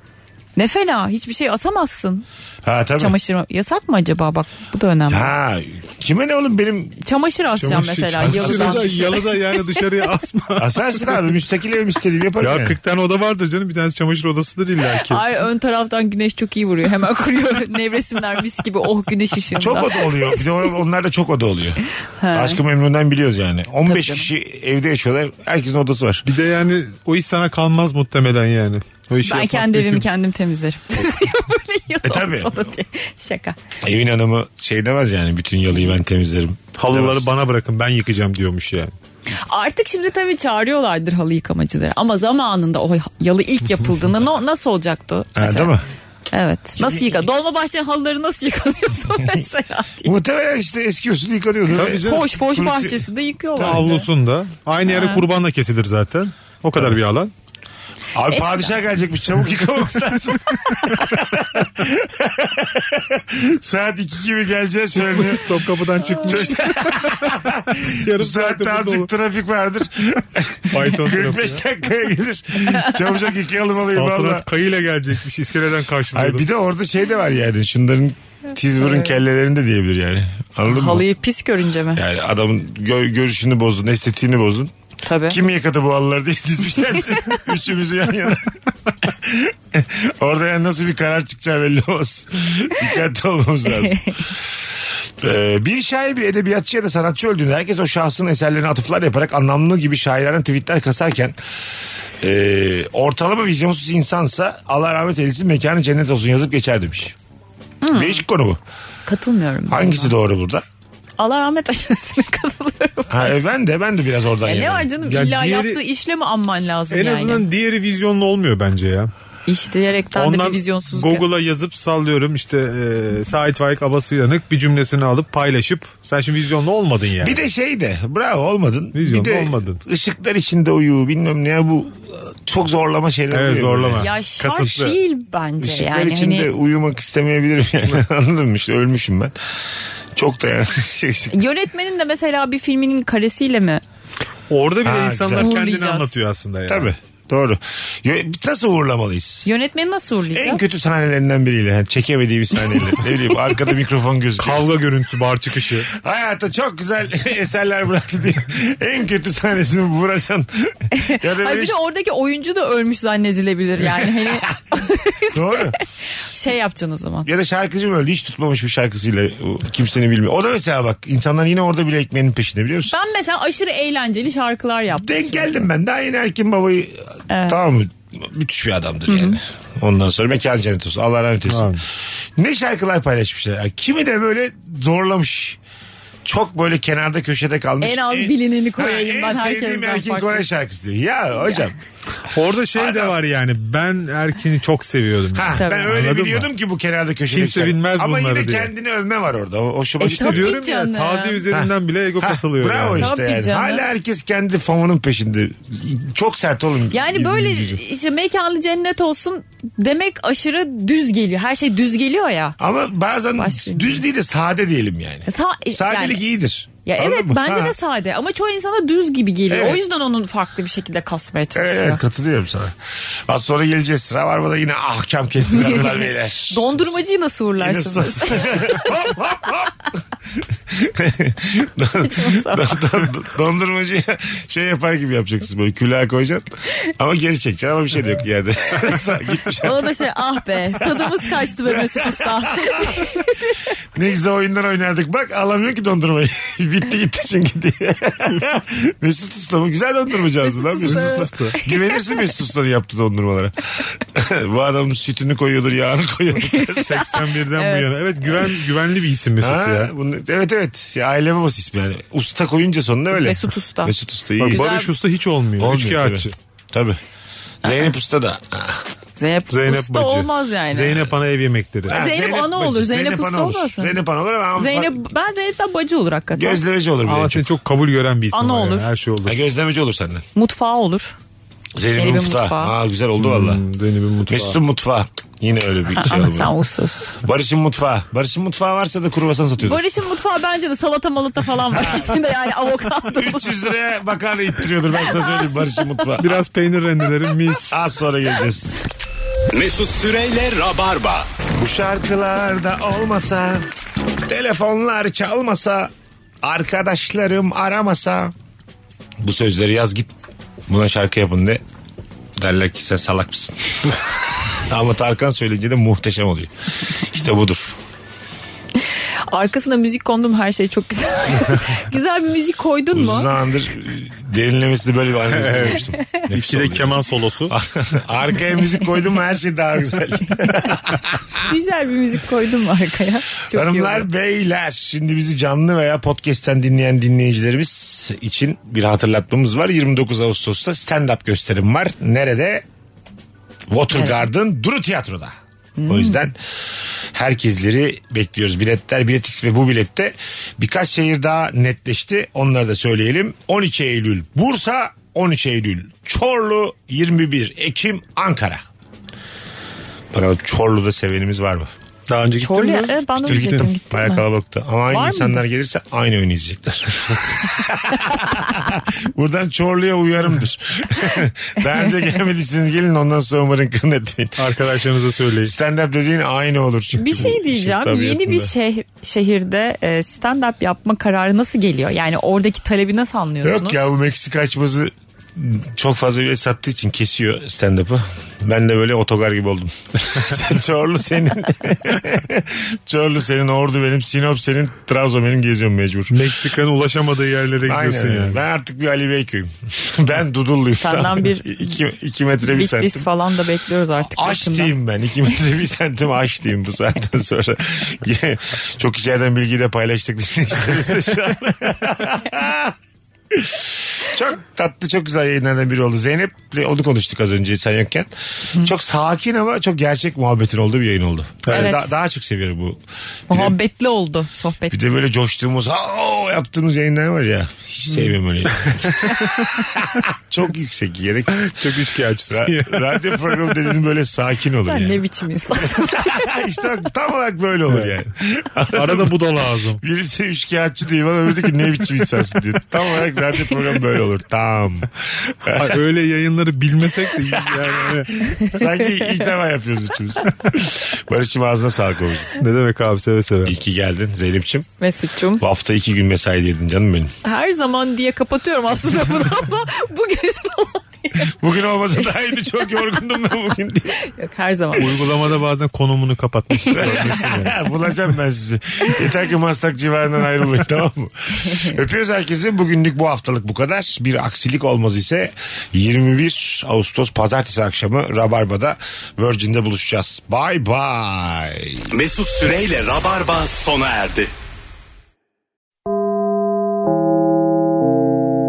S4: Ne fena hiçbir şey asamazsın
S3: Ha tabii.
S4: çamaşır. Yasak mı acaba bak bu da önemli.
S3: Ha kime ne oğlum benim
S4: Çamaşır asacağım
S5: Çamaşır-
S4: mesela
S5: Çamaşırı da
S4: yalıdan.
S5: Yalıda yani dışarıya asma.
S3: asarsın abi müstakil evim istediğim yaparım.
S5: ya
S3: yani.
S5: 40 tane oda vardır canım. Bir tanesi çamaşır odasıdır illa ki.
S4: Ay ön taraftan güneş çok iyi vuruyor. Hemen kuruyor. Nevresimler mis gibi. Oh güneş ışığında.
S3: Çok şey oda oluyor. Bir de on- onlar da çok oda oluyor. Aşkı memnundan biliyoruz yani. 15
S4: Tabii
S3: kişi evde yaşıyorlar. Herkesin odası var.
S5: Bir de yani o iş sana kalmaz muhtemelen yani. O işi
S4: Ben
S5: yapmak
S4: kendi
S5: mümkün.
S4: evimi kendim temizlerim. Böyle yalan
S3: E, tabii.
S4: falan diye. Şaka.
S3: Evin hanımı şey demez yani bütün yalıyı ben temizlerim.
S5: Halıları
S3: Demez.
S5: bana bırakın ben yıkacağım diyormuş yani.
S4: Artık şimdi tabii çağırıyorlardır halı yıkamacıları. Ama zamanında o yalı ilk yapıldığında no- nasıl olacaktı?
S3: Ha,
S4: mesela?
S3: değil mi?
S4: Evet. Nasıl yıka? Dolmabahçe halıları nasıl yıkanıyordu mesela? diye.
S3: Muhtemelen işte eski usul yıkanıyordu.
S5: Tabii canım.
S4: Foş foş
S3: Kulüpte-
S4: bahçesinde yıkıyorlar.
S5: Avlusunda. Aynı yere kurban da kesilir zaten. O kadar bir alan.
S3: Abi
S4: Eskiden.
S3: padişah gelecekmiş çabuk yıkamamız lazım. Saat 2 gibi geleceğiz söyleniyor.
S5: Topkapı'dan çıkmış.
S3: Bu
S5: Yarım saat
S3: saatte
S5: burada
S3: azıcık trafik vardır.
S5: Fayton tarafı.
S3: 45 dakikaya gelir. Çabucak yıkayalım alayım valla.
S5: Saltanat kayıyla gelecekmiş. iskeleden
S3: Ay
S5: karşılıyordu.
S3: bir de orada şey de var yani şunların tiz vurun kellelerinde diyebilir yani. Anladın mı?
S4: Halıyı pis görünce mi?
S3: Yani adamın gö- görüşünü bozdun, estetiğini bozdun.
S4: Tabii.
S3: Kim yıkadı bu halıları diye dizmişler seni. Üçümüzü yan yana. Orada yani nasıl bir karar çıkacağı belli olmaz. Dikkatli olmamız lazım. Ee, bir şair bir edebiyatçı ya da sanatçı öldüğünde herkes o şahsın eserlerine atıflar yaparak anlamlı gibi şairane tweetler kasarken ee, ortalama vizyonsuz insansa Allah rahmet eylesin mekanı cennet olsun yazıp geçer demiş. Değişik konu bu.
S4: Katılmıyorum. ben
S3: Hangisi
S4: buna.
S3: doğru burada?
S4: Allah rahmet eylesin katılıyorum.
S3: Ha, e, ben de ben de biraz oradan
S4: Ya ne
S3: yanayım.
S4: var canım
S5: Ya
S4: illa
S5: diğeri-
S4: yaptığı işle mi anman lazım
S5: En
S4: yani?
S5: azından diğeri vizyonlu olmuyor bence ya.
S4: İş diyerekten de bir
S5: Ondan
S4: vizyonsuzluk.
S5: Google'a yazıp sallıyorum işte e, Sait Faik Abası Yanık bir cümlesini alıp paylaşıp sen şimdi vizyonlu olmadın yani.
S3: Bir de şey de bravo olmadın.
S5: Vizyonda
S3: bir de
S5: olmadın.
S3: ışıklar içinde uyu bilmem ne ya bu e, çok zorlama şeyler.
S5: Evet,
S3: oluyor
S5: zorlama.
S3: böyle.
S4: Ya şart
S5: Kasıtlı.
S4: değil bence
S3: Işıklar
S4: yani.
S3: içinde
S4: Hani
S3: uyumak istemeyebilirim yani anladın mı işte ölmüşüm ben. Çok da yani. şey- şey-
S4: yönetmenin de mesela bir filminin karesiyle mi?
S5: Orada bile
S3: Ha,
S5: insanlar
S4: güzel.
S5: kendini
S4: Uğurlayacağız.
S5: anlatıyor aslında yani.
S3: Tabii. Doğru. Yo- Nasıl uğurlamalıyız?
S4: Yönetmeni nasıl uğurlayacak?
S3: En kötü sahnelerinden biriyle. Yani çekemediği bir sahneyle. ne bileyim arkada mikrofon gözüküyor.
S5: Kavga görüntüsü bar çıkışı.
S3: Hayata çok güzel eserler bıraktı diye. En kötü sahnesini vuracaksın. ya da
S4: Ay
S3: böyle
S4: bir de oradaki oyuncu da ölmüş zannedilebilir yani. Hani
S3: Doğru.
S4: şey yapacaksın o zaman.
S3: Ya da şarkıcı mı öldü hiç tutmamış bir şarkısıyla o, kimsenin bilmiyor. O da mesela bak insanlar yine orada bile ekmeğinin peşinde biliyor musun?
S4: Ben mesela aşırı eğlenceli şarkılar yaptım.
S3: Denk geldim ben. Daha yeni Erkin Baba'yı tamam mı? Müthiş bir adamdır yani. Ondan sonra mekan cennet olsun. Allah rahmet eylesin.
S5: Abi.
S3: Ne şarkılar paylaşmışlar. Yani Kimi de böyle zorlamış. Çok böyle kenarda köşede kalmış.
S4: En az
S3: E-
S4: bilineni koyayım
S3: Ha,
S4: ben
S3: En sevdiğim
S4: herkesten
S3: Erkin
S4: farklı.
S3: Koray şarkısı diyor. Ya hocam.
S5: Orada şey de var yani ben Erkin'i çok seviyordum.
S3: Ha,
S4: Tabii.
S3: ben öyle
S5: Anladın mı?
S3: biliyordum ki bu kenarda köşede.
S5: Kimse
S3: şarkı.
S5: bilmez
S3: Ama
S5: bunları
S3: yine
S5: diye.
S3: kendini övme var orada. O, hoşuma
S4: E,
S3: gitti.
S4: tabii
S5: diyorum ya
S4: canım.
S5: taze üzerinden bile ego
S3: Ha,
S5: kasılıyor.
S3: Bravo
S5: yani.
S3: işte
S4: Tabii
S3: yani.
S4: canım.
S3: Hala herkes kendi famonun peşinde. Çok sert olun.
S4: Yani böyle
S3: Gibi.
S4: işte mekanlı cennet olsun demek aşırı düz geliyor. Her şey düz geliyor ya.
S3: Ama bazen
S4: Başlayayım.
S3: düz değil de sade diyelim yani.
S4: Sa- e,
S3: Sadelik
S4: yani-
S3: iyidir.
S4: Ya
S3: Anladın
S4: evet
S3: mı?
S4: bence
S3: Ha.
S4: de sade ama çoğu insana düz gibi geliyor.
S3: Evet.
S4: O yüzden onun farklı bir şekilde kasmaya
S3: Evet,
S4: çalışıyor.
S3: evet, katılıyorum sana. Az sonra geleceğiz. Sıra var mı da yine ahkam kestik hanımlar beyler.
S4: Dondurmacıyı nasıl
S3: Yine
S4: uğurlarsınız?
S3: sos- hop hop hop. Don- don- don- Dondurmacıya şey yapar gibi yapacaksın böyle külah koyacaksın ama geri çekeceksin ama bir şey de yok yerde. Gitmiş
S4: Ona da şey ah be tadımız kaçtı be Mesut Usta.
S3: Ne güzel oyunlar oynardık. Bak alamıyor ki dondurmayı. Bitti gitti çünkü diye. Mesut Usta mı? Güzel dondurmacı aldı lan
S4: Mesut
S3: Mesut Usta. Güvenirsin Mesut Usta'nın yaptığı dondurmalara. Bu adam sütünü koyuyordur, yağını koyuyordur.
S5: 81'den bu yana. Evet güven güvenli bir isim Mesut
S3: ha,
S5: ya.
S3: bunu, evet evet. Ya, aile babası ismi yani. Usta koyunca sonunda öyle.
S4: Mesut Usta.
S3: Mesut Usta iyi.
S5: Bak,
S4: Güzel.
S5: Barış Usta hiç olmuyor.
S3: Olmuyor,
S5: Üç kağıtçı.
S3: Tabii. Zeynep Usta da. Ha,
S4: Zeynep,
S5: Zeynep
S4: Usta
S5: Bacı.
S4: olmaz yani. Zeynep,
S5: Zeynep Ana ev yemekleri.
S4: Zeynep ana
S3: Bacı.
S4: olur, Zeynep Usta
S3: ana olur.
S4: olmaz mı?
S3: Zeynep ana olur ama
S4: ben Zeynep'ten bacı olur hakikaten.
S3: gözlemeci olur bir
S5: Ama
S3: de.
S5: seni çok kabul gören bir isim
S4: Ana
S5: var yani,
S4: olur.
S5: Her şey olur.
S3: Ha, gözlemeci olur senden.
S4: Mutfağı olur.
S3: Zeynep'in
S4: Zeynep'in
S3: Şey, mutfağı.
S4: mutfağı.
S3: Ha, güzel oldu valla.
S5: Hmm, Zeynep'in mutfağı.
S3: Mesut'un mutfağı. Yine öyle bir şey
S4: Ama sen
S3: oldu.
S4: usta.
S3: Barış'ın mutfağı. Barış'ın mutfağı varsa da kruvasan satıyordur.
S4: Barış'ın mutfağı bence de salata malata falan var. İçinde yani avokado.
S3: 300 liraya makarna ittiriyordur ben sana söyleyeyim Barış'ın mutfağı.
S5: Biraz peynir rendeleri mis.
S3: Az sonra geleceğiz.
S2: Mesut Süreyle Rabarba.
S3: Bu şarkılarda olmasa, telefonlar çalmasa, arkadaşlarım aramasa. Bu sözleri yaz git buna şarkı yapın de. Derler ki sen salak mısın? Ama Tarkan söyleyince de muhteşem oluyor. İşte budur.
S4: Arkasına müzik kondum her şey çok güzel. güzel bir müzik koydun
S3: Uzun
S4: mu?
S3: zamandır e, derinlemesine böyle bir analiz izlemiştim. Nefis Ah,
S5: İkide
S3: oldu.
S5: keman solosu.
S3: Arkaya müzik koydum mu her şey daha güzel.
S4: Güzel bir müzik koydun mu arkaya? Çok iyi olur.
S3: Hanımlar beyler şimdi bizi canlı veya podcast'ten dinleyen dinleyicilerimiz için bir hatırlatmamız var. 29 Ağustos'ta stand-up gösterim var. Nerede? Watergarden Duru Tiyatro'da.
S4: Hmm.
S3: O yüzden herkesleri bekliyoruz. Biletler, biletix ve bu bilette birkaç şehir daha netleşti. Onları da söyleyelim. 12 Eylül Bursa, 13 Eylül Çorlu, 21 Ekim Ankara. Bakalım Çorlu'da sevenimiz var mı?
S5: Daha önce gittin
S4: Çorlu'ya-
S5: mi?
S4: Evet, e, ben de
S3: Gittim,
S4: gittim.
S3: gittim.
S4: gittim,
S3: Bayağı
S4: ben.
S3: kalabalıktı. Ama aynı
S4: mıydı?
S3: insanlar gelirse aynı oyunu izleyecekler. Buradan Çorlu'ya uyarımdır. Daha önce gelmediyseniz gelin ondan sonra umarım kırın etmeyin.
S5: Arkadaşlarınıza söyleyin.
S3: Stand up dediğin aynı olur çünkü.
S4: Bir
S3: bu
S4: şey diyeceğim.
S3: işin
S4: Yeni bir
S3: tabiatında.
S4: şeh- şehirde e, stand-up yapma kararı nasıl geliyor? Yani oradaki talebi nasıl anlıyorsunuz?
S3: Yok ya bu Meksika açması çok fazla bile sattığı için kesiyor stand-up'ı. Ben de böyle otogar gibi oldum. Çorlu senin. Çorlu senin, Ordu benim, Sinop senin, Trabzon benim geziyorum mecbur.
S5: Meksika'nın ulaşamadığı yerlere
S3: Aynen.
S5: gidiyorsun
S3: öyle.
S5: yani.
S3: Ben artık bir Ali Beyköy'üm. ben Dudulluyum.
S4: Senden
S3: Tamam.
S4: bir-
S3: iki, iki metre bir
S4: Bitlis
S3: santim.
S4: falan da bekliyoruz artık.
S3: Aç
S4: yakında.
S3: diyeyim ben. iki metre bir santim aç diyeyim bu saatten sonra. Çok içeriden bilgi de paylaştık dinleyicilerimizle şu an. çok tatlı çok güzel yayınlardan biri oldu. Zeynep'le onu konuştuk az önce sen yokken. Çok sakin ama çok gerçek muhabbetin olduğu bir yayın oldu. Yani
S4: Evet.
S3: da- daha çok seviyorum bu. Bir de-
S4: Muhabbetli oldu sohbet.
S3: bir de böyle coştuğumuz ha o yaptığımız yayınlar var ya. Hiç sevmiyorum öyle. Çok yüksek gerek.
S5: Çok üçkağıtçısın.
S3: Ra- radyo programı dediğin böyle sakin olur
S4: Şey- Sen
S3: yani.
S4: ne biçim insansın?
S3: işte bak, tam olarak böyle olur yani.
S5: Arada bu da lazım.
S3: Birisi üçkağıtçı diyor bana öbürü diyor ki ne biçim insansın diyor. Tam olarak Radyo programı böyle olur. Tamam.
S5: Ay, öyle yayınları bilmesek de yani hani
S3: Sanki ilk defa yapıyoruz üçümüz. Barış'cığım ağzına sağlık olsun.
S5: ne demek abi seve seve.
S3: İyi ki geldin Zeynep'ciğim.
S4: Mesut'cum.
S3: Bu hafta iki gün mesai yedin canım benim.
S4: Her zaman diye kapatıyorum aslında bunu ama bugün falan diye.
S3: Bugün olmasa daha iyiydi. Çok yorgundum ben bugün diye.
S4: Yok her zaman.
S5: Uygulamada bazen konumunu kapatmış.
S3: Bulacağım ben sizi. Yeter ki Maslak civarından ayrılmayın tamam mı? Öpüyoruz herkesi. Bugünlük bu haftalık bu kadar. Bir aksilik olmaz ise 21 Ağustos pazartesi akşamı Rabarba'da Virgin'de buluşacağız. Bye bye.
S2: Mesut Süreyle Rabarba sona erdi.